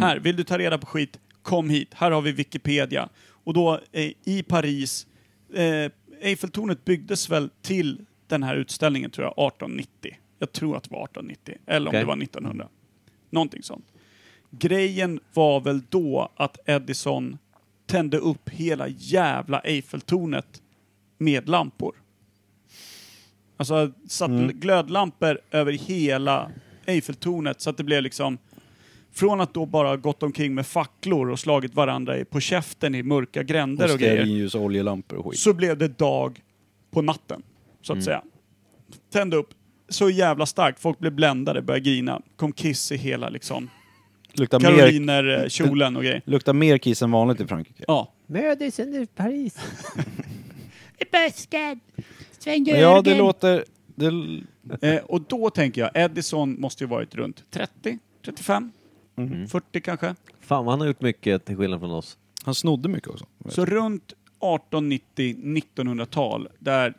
[SPEAKER 3] Här, vill du ta reda på skit? Kom hit, här har vi Wikipedia. Och då eh, i Paris, eh, Eiffeltornet byggdes väl till den här utställningen tror jag, 1890. Jag tror att det var 1890, eller
[SPEAKER 2] Okej.
[SPEAKER 3] om det var 1900. Någonting sånt. Grejen var väl då att Edison tände upp hela jävla Eiffeltornet med lampor. Alltså satt glödlampor över hela Eiffeltornet så att det blev liksom från att då bara gått omkring med facklor och slagit varandra i- på käften i mörka gränder
[SPEAKER 1] Och
[SPEAKER 3] och, grejer.
[SPEAKER 1] stearinljus och oljelampor och skit.
[SPEAKER 3] Så blev det dag på natten, så att säga. Tände upp så jävla starkt, folk blev bländade, började grina. Kom kiss i hela liksom
[SPEAKER 1] Luktar mer,
[SPEAKER 3] karoliner, eh, kjolen och grejer.
[SPEAKER 1] luktar mer kiss än vanligt i Frankrike.
[SPEAKER 3] Ja.
[SPEAKER 4] Busken! Sväng
[SPEAKER 1] Men ja, det låter... Det, l-
[SPEAKER 3] Eh, och då tänker jag, Edison måste ju varit runt 30, 35, 40 kanske.
[SPEAKER 2] Fan vad han har gjort mycket till skillnad från oss.
[SPEAKER 1] han snodde mycket också.
[SPEAKER 3] Så runt 1890-1900-tal, där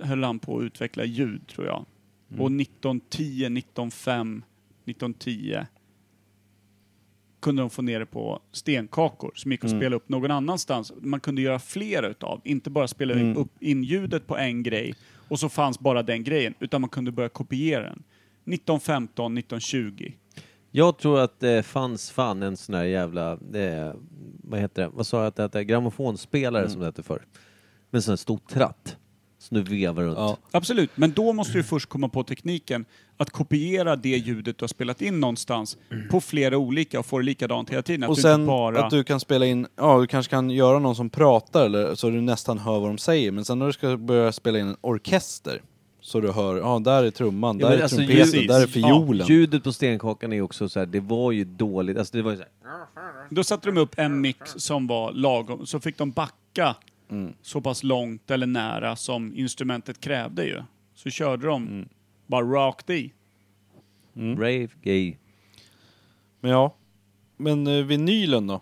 [SPEAKER 3] höll han på att utveckla ljud tror jag. Och 1910, 1905, 1910 kunde de få ner det på stenkakor som gick att spela upp någon annanstans. Man kunde göra flera utav, inte bara spela upp in ljudet på en grej och så fanns bara den grejen, utan man kunde börja kopiera den. 1915, 1920.
[SPEAKER 2] Jag tror att det fanns fan en sån här jävla, eh, vad heter det, vad sa jag att det hette, grammofonspelare som det hette förr. Med en sån här stor tratt. som du vevar runt.
[SPEAKER 1] Ja.
[SPEAKER 3] Absolut, men då måste du först komma på tekniken att kopiera det ljudet du har spelat in någonstans på flera olika och få det likadant hela tiden. Att
[SPEAKER 1] Och
[SPEAKER 3] du
[SPEAKER 1] sen
[SPEAKER 3] inte bara...
[SPEAKER 1] att du kan spela in, ja du kanske kan göra någon som pratar eller så du nästan hör vad de säger. Men sen när du ska börja spela in en orkester så du hör, ja där är trumman,
[SPEAKER 2] Ja,
[SPEAKER 1] där
[SPEAKER 2] men
[SPEAKER 1] är
[SPEAKER 2] alltså,
[SPEAKER 1] trumpeten,
[SPEAKER 3] ljud-
[SPEAKER 1] där är
[SPEAKER 3] Ja,
[SPEAKER 1] fiolen.
[SPEAKER 2] Ljudet på stenkakan är ju också så här, det var ju dåligt. Alltså det var ju så här,
[SPEAKER 3] Då satte de upp en mick som var lagom, så fick de backa så pass långt eller nära som instrumentet krävde ju. Så körde de bara rakt i.
[SPEAKER 1] Mm.
[SPEAKER 2] brave gay.
[SPEAKER 1] Men ja. Men eh, vinylen då?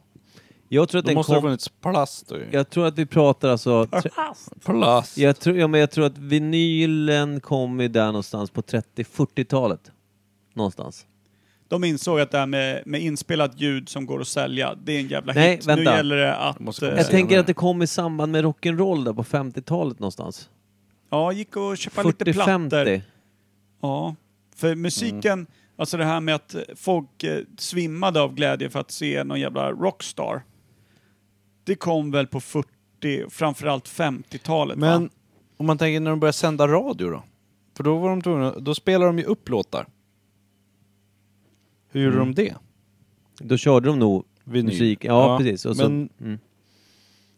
[SPEAKER 2] Jag tror att
[SPEAKER 1] Då
[SPEAKER 2] den
[SPEAKER 1] måste det ha
[SPEAKER 2] kom,
[SPEAKER 1] funnits plast då ju.
[SPEAKER 2] jag tror att vi pratar
[SPEAKER 1] [LAUGHS]
[SPEAKER 2] alltså, tre-
[SPEAKER 1] Plast!
[SPEAKER 2] jag tror, ja, men jag tror att vinylen kom ju där någonstans på 30-40-talet. Någonstans.
[SPEAKER 3] De insåg att det här med, med inspelat ljud som går att sälja, det är en jävla
[SPEAKER 2] Nej,
[SPEAKER 3] hit.
[SPEAKER 2] vänta.
[SPEAKER 3] Nu gäller det att...
[SPEAKER 1] Jag måste komma
[SPEAKER 3] eh,
[SPEAKER 2] Jag
[SPEAKER 1] senare.
[SPEAKER 2] tänker att det kom i samband med rock'n'roll där på 50-talet någonstans.
[SPEAKER 3] ja, gick och köpa lite plattor.
[SPEAKER 2] 40-50.
[SPEAKER 3] Ja, för musiken, alltså det här med att folk eh, svimmade av glädje för att se någon jävla rockstar. Det kom väl på 40, framförallt 50-talet
[SPEAKER 1] Men
[SPEAKER 3] va?
[SPEAKER 1] om man tänker när de började sända radio då? För då var de tvungna, då spelade de ju upp låtar. Hur gjorde de det?
[SPEAKER 2] Då körde de nog
[SPEAKER 1] Vinyl.
[SPEAKER 2] Mm. musik. Ja,
[SPEAKER 1] Ja,
[SPEAKER 2] precis. Och så,
[SPEAKER 1] men-
[SPEAKER 2] mm.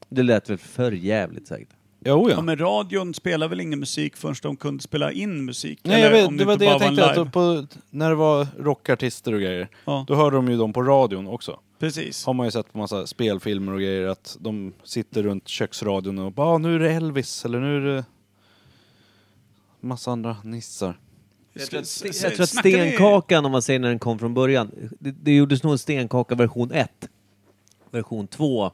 [SPEAKER 2] Det lät väl för jävligt säkert.
[SPEAKER 1] Ja, oh
[SPEAKER 3] Ja,
[SPEAKER 1] ja.
[SPEAKER 3] men radion spelade väl ingen musik förrän de kunde spela in musik?
[SPEAKER 1] Nej jag
[SPEAKER 3] Eller
[SPEAKER 1] vet,
[SPEAKER 3] om
[SPEAKER 1] det var
[SPEAKER 3] inte
[SPEAKER 1] det jag
[SPEAKER 3] bara
[SPEAKER 1] tänkte
[SPEAKER 3] en live.
[SPEAKER 1] att på, när det var rockartister och grejer,
[SPEAKER 3] Ja,
[SPEAKER 1] då hörde de ju dem på radion också.
[SPEAKER 3] precis.
[SPEAKER 1] Har man ju sett på massa spelfilmer och grejer att de sitter runt köksradion och bara "Ah, nu är det Elvis eller nu är det massa andra nissar.
[SPEAKER 2] Jag tror att,
[SPEAKER 3] Sk-
[SPEAKER 2] ste-
[SPEAKER 3] sk-
[SPEAKER 2] jag tror att
[SPEAKER 3] snackar vi-
[SPEAKER 2] stenkakan, om man säger när den kom från början, det, det gjordes nog en stenkaka version 1, version 2,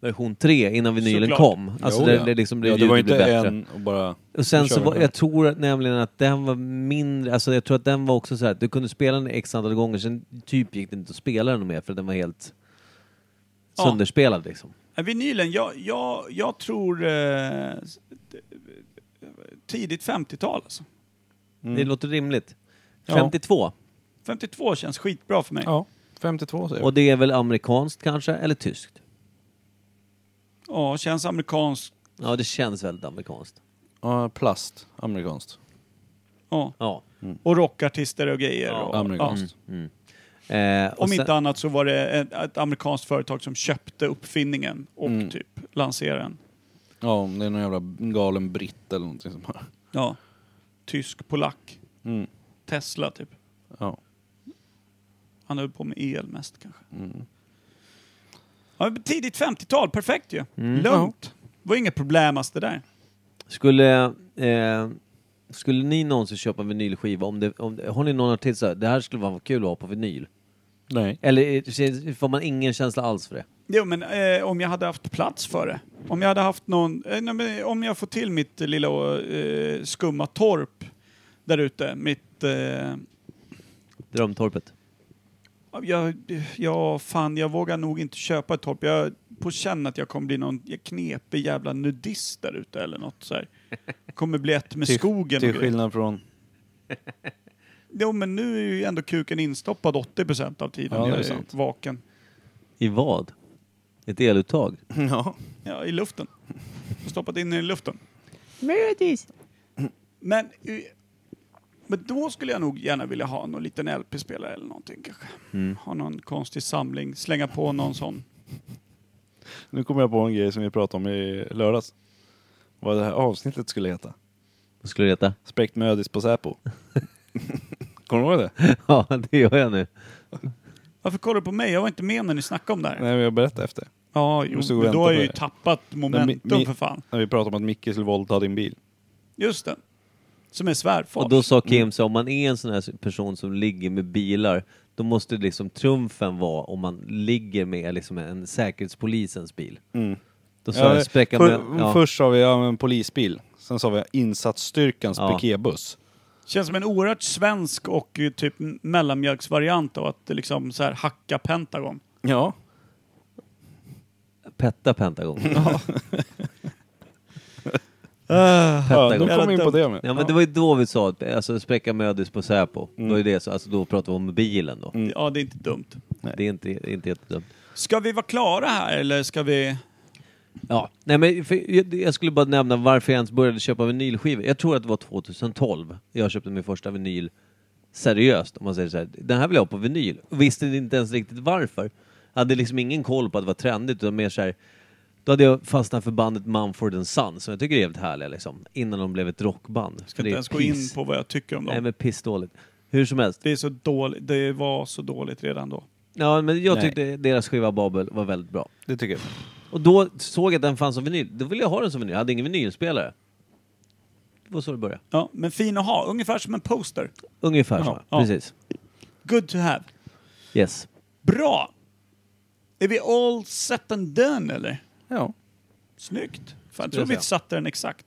[SPEAKER 2] version 3 innan vinylen
[SPEAKER 3] Såklart.
[SPEAKER 2] kom. Alltså
[SPEAKER 1] Jo,
[SPEAKER 2] det,
[SPEAKER 1] ja.
[SPEAKER 2] det, liksom, det,
[SPEAKER 1] ja, det var ju
[SPEAKER 2] ljudet
[SPEAKER 1] inte
[SPEAKER 2] blev bättre.
[SPEAKER 1] en och bara...
[SPEAKER 2] Och sen
[SPEAKER 1] nu kör
[SPEAKER 2] så
[SPEAKER 1] vi
[SPEAKER 2] var,
[SPEAKER 1] här.
[SPEAKER 2] jag tror att nämligen att den var mindre, alltså jag tror att den var också så här att du kunde spela den x antal gånger, sen typ gick det inte att spela den mer för den var helt
[SPEAKER 3] Ja.
[SPEAKER 2] sönderspelad liksom.
[SPEAKER 3] Ja, Vinylen, jag, jag, jag tror eh, s- d- tidigt 50-tal alltså.
[SPEAKER 2] Det låter rimligt.
[SPEAKER 1] Mm. Ja.
[SPEAKER 2] 52.
[SPEAKER 3] 52 känns skitbra för mig. Ja,
[SPEAKER 1] Ja, 52 säger jag.
[SPEAKER 2] Och det är väl amerikanskt kanske, eller tyskt?
[SPEAKER 3] känns amerikanskt.
[SPEAKER 2] Ja, det känns väldigt amerikanskt.
[SPEAKER 1] Ja, plast, amerikanskt.
[SPEAKER 3] Ja.
[SPEAKER 2] Ja.
[SPEAKER 3] Och rockartister och grejer.
[SPEAKER 2] Ja,
[SPEAKER 3] och,
[SPEAKER 1] Amerikanskt.
[SPEAKER 2] Eh, och
[SPEAKER 3] Om
[SPEAKER 2] sen-
[SPEAKER 3] inte annat så var det ett, ett amerikanskt företag som köpte uppfinningen och
[SPEAKER 1] Mm.
[SPEAKER 3] typ lanserade den.
[SPEAKER 1] Ja, om det är någon jävla galen britt eller någonting som har...
[SPEAKER 3] Ja. Tysk, polack,
[SPEAKER 1] Mm.
[SPEAKER 3] Tesla typ.
[SPEAKER 1] Ja.
[SPEAKER 3] Han höll på med el mest kanske.
[SPEAKER 1] Mm.
[SPEAKER 3] Ja, men tidigt 50-tal, perfekt ju.
[SPEAKER 2] Mm.
[SPEAKER 3] Lugnt. Det var inget problem alls det där.
[SPEAKER 2] Skulle, eh, skulle ni någonsin köpa en vinylskiva? Om det, om, det- har ni någon artist så här, det här skulle vara kul att ha på vinyl?
[SPEAKER 1] Nej.
[SPEAKER 2] Eller eh, får man ingen känsla alls för det?
[SPEAKER 3] Jo, men eh, om jag hade haft plats för det. Om jag hade haft någon... Eh, nej, men om jag får till mitt eh, lilla eh, skumma torp där ute. Mitt... Eh,
[SPEAKER 2] Drömtorpet.
[SPEAKER 3] Jag, ja, fan, jag vågar nog inte köpa ett torp. Jag på känn att jag kommer bli någon knepig jävla nudist där ute eller något
[SPEAKER 1] [LAUGHS]
[SPEAKER 3] så här. Kommer bli ett med
[SPEAKER 1] Till-
[SPEAKER 3] skogen
[SPEAKER 1] Till
[SPEAKER 3] och grejer.
[SPEAKER 1] skillnad från...
[SPEAKER 3] Jo, men nu är ju ändå kuken instoppad 80% av tiden
[SPEAKER 1] Ja, det
[SPEAKER 3] jag
[SPEAKER 1] är
[SPEAKER 3] är
[SPEAKER 1] sant.
[SPEAKER 3] vaken.
[SPEAKER 2] I vad? Ett eluttag?
[SPEAKER 1] Ja.
[SPEAKER 3] Ja, i luften. Stoppat in i luften.
[SPEAKER 4] Mödis.
[SPEAKER 3] Men, eh, men då skulle jag nog gärna vilja ha någon liten LP-spelare eller någonting kanske.
[SPEAKER 1] Mm.
[SPEAKER 3] Ha någon konstig samling, slänga på någon sån.
[SPEAKER 1] Nu kommer jag på en grej som vi pratade om i lördags. Vad det här avsnittet skulle heta.
[SPEAKER 2] Vad skulle det heta?
[SPEAKER 1] Spräckt mödis på Säpo. [LAUGHS] Kommer du ihåg det?
[SPEAKER 2] [LAUGHS] ja, det gör jag nu.
[SPEAKER 3] Varför kollar du på mig? Jag var inte med när ni snackade om det här.
[SPEAKER 1] Nej, men jag berättade efter.
[SPEAKER 3] Ja, jo,
[SPEAKER 1] Du stod och
[SPEAKER 3] men
[SPEAKER 1] väntade
[SPEAKER 3] då har
[SPEAKER 1] på
[SPEAKER 3] jag ju
[SPEAKER 1] det.
[SPEAKER 3] tappat momentum
[SPEAKER 1] Men mi- mi-
[SPEAKER 3] för fan.
[SPEAKER 1] När vi pratade om att Micke skulle våldta din bil.
[SPEAKER 3] Just det. Som är svärfars.
[SPEAKER 2] Och då sa Kim så om man är en sån här person som ligger med bilar, då måste liksom trumfen vara om man ligger med liksom en säkerhetspolisens bil. Då sa jag spräcka
[SPEAKER 1] för,
[SPEAKER 2] med... Ja.
[SPEAKER 1] Först sa vi ja, en polisbil. Sen sa vi insatsstyrkans
[SPEAKER 2] Ja.
[SPEAKER 1] piketbuss.
[SPEAKER 3] Känns som en oerhört svensk och eh, typ m- mellanmjölksvariant av att eh, liksom så här hacka Pentagon.
[SPEAKER 1] Ja.
[SPEAKER 2] Petta [LAUGHS] Pentagon.
[SPEAKER 1] ja nu
[SPEAKER 2] Pentagon.
[SPEAKER 1] kom vi in på det med.
[SPEAKER 2] Ja men det var ju då vi sa att alltså, spräcka mödis på Säpo. Det var ju det, så, alltså, då pratar vi om bilen då.
[SPEAKER 3] Ja, det är inte dumt.
[SPEAKER 2] Det är inte, inte helt dumt.
[SPEAKER 3] Ska vi vara klara här eller ska vi...
[SPEAKER 2] Ja, nej men för, jag, jag skulle bara nämna varför jag ens började köpa vinylskivor. Jag tror att det var 2012 jag köpte min första vinyl seriöst, om man säger så här. Den här vill jag ha på vinyl. Och Visste inte ens riktigt varför. Jag hade liksom ingen koll på att det var trendigt, utan mer så här. Då hade jag fastnat för bandet Mumford and Sons, som jag tycker är jävligt härliga liksom. Innan de blev ett rockband.
[SPEAKER 3] Ska inte ens gå in på vad jag tycker om
[SPEAKER 2] dem. Nej
[SPEAKER 3] dem.
[SPEAKER 2] men pissdåligt. Hur som helst.
[SPEAKER 3] Det, är så dåligt, det var så dåligt redan då.
[SPEAKER 2] Ja, men jag
[SPEAKER 1] Nej.
[SPEAKER 2] tyckte deras skiva Babel var väldigt bra.
[SPEAKER 1] Det tycker jag.
[SPEAKER 2] Och då såg jag att den fanns som vinyl. Då ville jag ha den som vinyl. Jag hade ingen vinylspelare. Det var så det började.
[SPEAKER 3] Ja, men fin att ha, ungefär som en poster.
[SPEAKER 2] Ungefär så.
[SPEAKER 3] Ja, ja.
[SPEAKER 2] Precis.
[SPEAKER 3] Good to have.
[SPEAKER 2] Yes.
[SPEAKER 3] Bra! Är vi all set and done eller?
[SPEAKER 1] Ja.
[SPEAKER 3] Snyggt! Fan, jag
[SPEAKER 2] Skulle
[SPEAKER 3] tror
[SPEAKER 2] jag
[SPEAKER 3] vi
[SPEAKER 2] säga.
[SPEAKER 3] satte den exakt.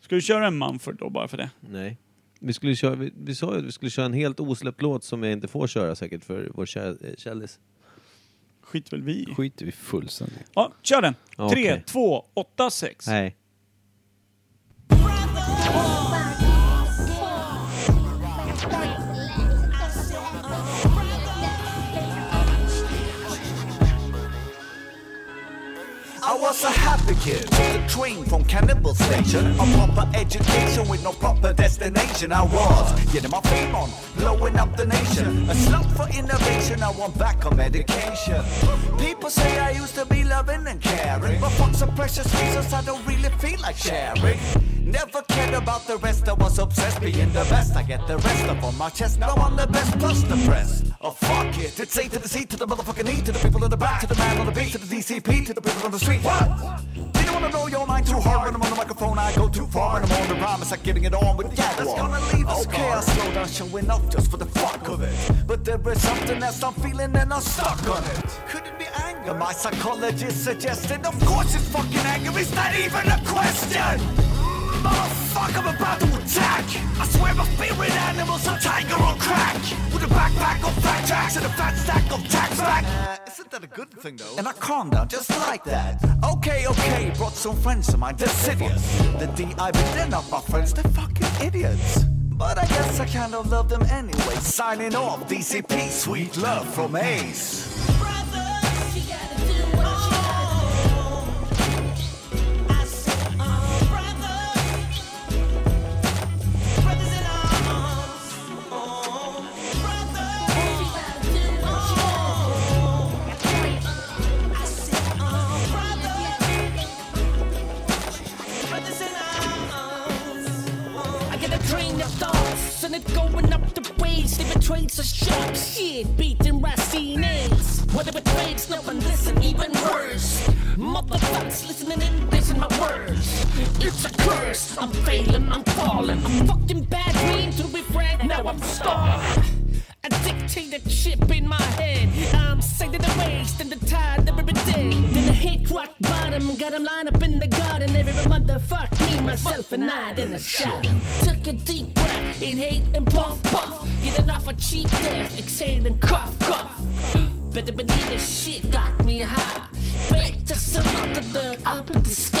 [SPEAKER 3] Ska du köra en Mumford då bara för det?
[SPEAKER 2] Nej. Vi, skulle köra, vi, vi sa ju att vi skulle köra en helt osläppt låt som jag inte får köra säkert för vår kä- eh, kändis.
[SPEAKER 3] Skit väl vi i.
[SPEAKER 1] Skiter vi fullständigt
[SPEAKER 3] Ja, kör den!
[SPEAKER 2] Ja,
[SPEAKER 3] Tre,
[SPEAKER 2] okej.
[SPEAKER 3] två, åtta, sex.
[SPEAKER 2] Nej.
[SPEAKER 7] I was a happy kid, trained from cannibal station. A proper education with no proper destination. I was getting my fame on, blowing up the nation. A slut for innovation, I want back on medication. People say I used to be loving and caring, but fuck's a precious resource I don't really feel like sharing. Never cared about the rest, I was obsessed being the best. I get the rest up on my chest, now I'm the best plus the press. Oh fuck it, it's A to the C to the motherfucking E to the people in the back, to the man on the beat, to the DCP, to the people on the street. What? They don't wanna know your mind too hard when I'm on the microphone. I go too far and I'm on the rhyme. It's like getting it on with the yeah, that's gonna leave us. Okay, I slow down showing up just for the fuck of it. But there is something else I'm feeling and I'm stuck on it. Could it be anger? My psychologist suggested, of course it's fucking anger. It's not even a question. Motherfucker, Oh, I'm about to attack. I swear my favorite animal's a tiger on crack. With a backpack of fat tracks and a fat stack of tax back. Uh, isn't that a good thing though? And I calmed down just like that. Okay, okay, brought some friends of mine, they're serious. The D.I.B. they're not my friends, they're fucking idiots. But I guess I kind of love them anyway. Signing off, DCP, sweet love from Ace.
[SPEAKER 8] And it going up the waves, they betrayed so sharp shit, beating Racine eggs. What it betrays, no one listen, even worse. Motherfuckers listening in, this my words. It's a curse, I'm failing, I'm falling. I'm fucking bad dream to be frank, now I'm starving. A dictated chip in my head. I'm sick to the waist and the tide every day. Then I hit rock bottom, got him lined up in the garden. Every motherfuck me, myself, and I then I shot. Took a deep breath, inhale and puff, puff. Getting off a cheap death, exhale and cough, cough. Better believe this shit got me high. Back to some other the up in the sky.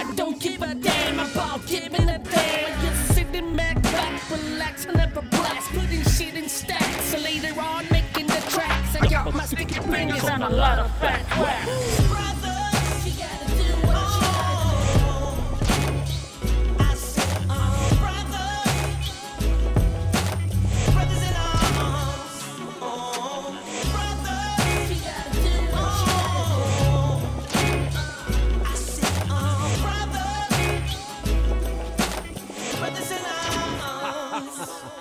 [SPEAKER 8] I don't give a damn about giving a damn. Just sitting back, back, relax, I never blast. Putting shit in stacks, so later on making the tracks. I got my sticky fingers on a lot of fat wax.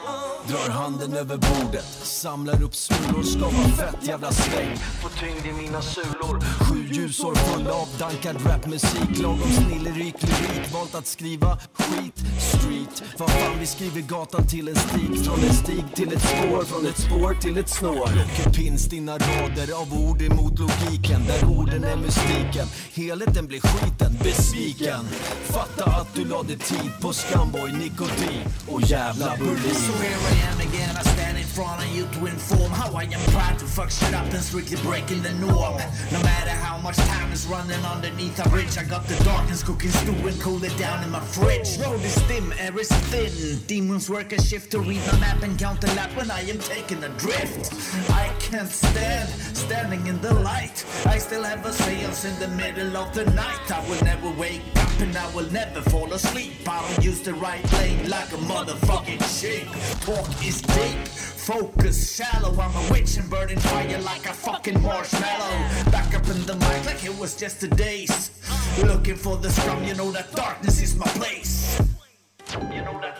[SPEAKER 7] "Oh, Drar handen över bordet, samlar upp smulor, skapar fett jävla sväng. Får tyngd i mina sulor. Sju ljusår fulla av dankad rapmusik. Lagom snillerik lyrik, valt att skriva skit. Street, vad fan vi skriver gatan till en stig. Från en stig till ett spår, från ett spår till ett snår. Locket pins dina rader av ord emot logiken. Där orden är mystiken, helheten blir skiten. Besviken, fatta att du lade tid på Scumboy, nikotin och jävla Berlin.
[SPEAKER 9] So here I am again, I stand in front of you
[SPEAKER 7] need to inform how I am trying to fuck shit up and strictly breaking the norm. No matter how much time is running underneath a ridge, I got the darkness cooking stew and cool it down in my fridge. Road is dim, air is thin. Demons work a shift to read my map and count the lap when I am taking a drift. I can't stand standing in the light. I still have a seance in the middle of the night. I will never wake up and I will never fall asleep. I will use the right lane like a motherfucking sheep. Talk is deep, focus shallow. I'm a witch and burning fire like a fucking marshmallow. Back up in the mic like it was just a daze. Looking for the scrum, you know that darkness is my place. You know that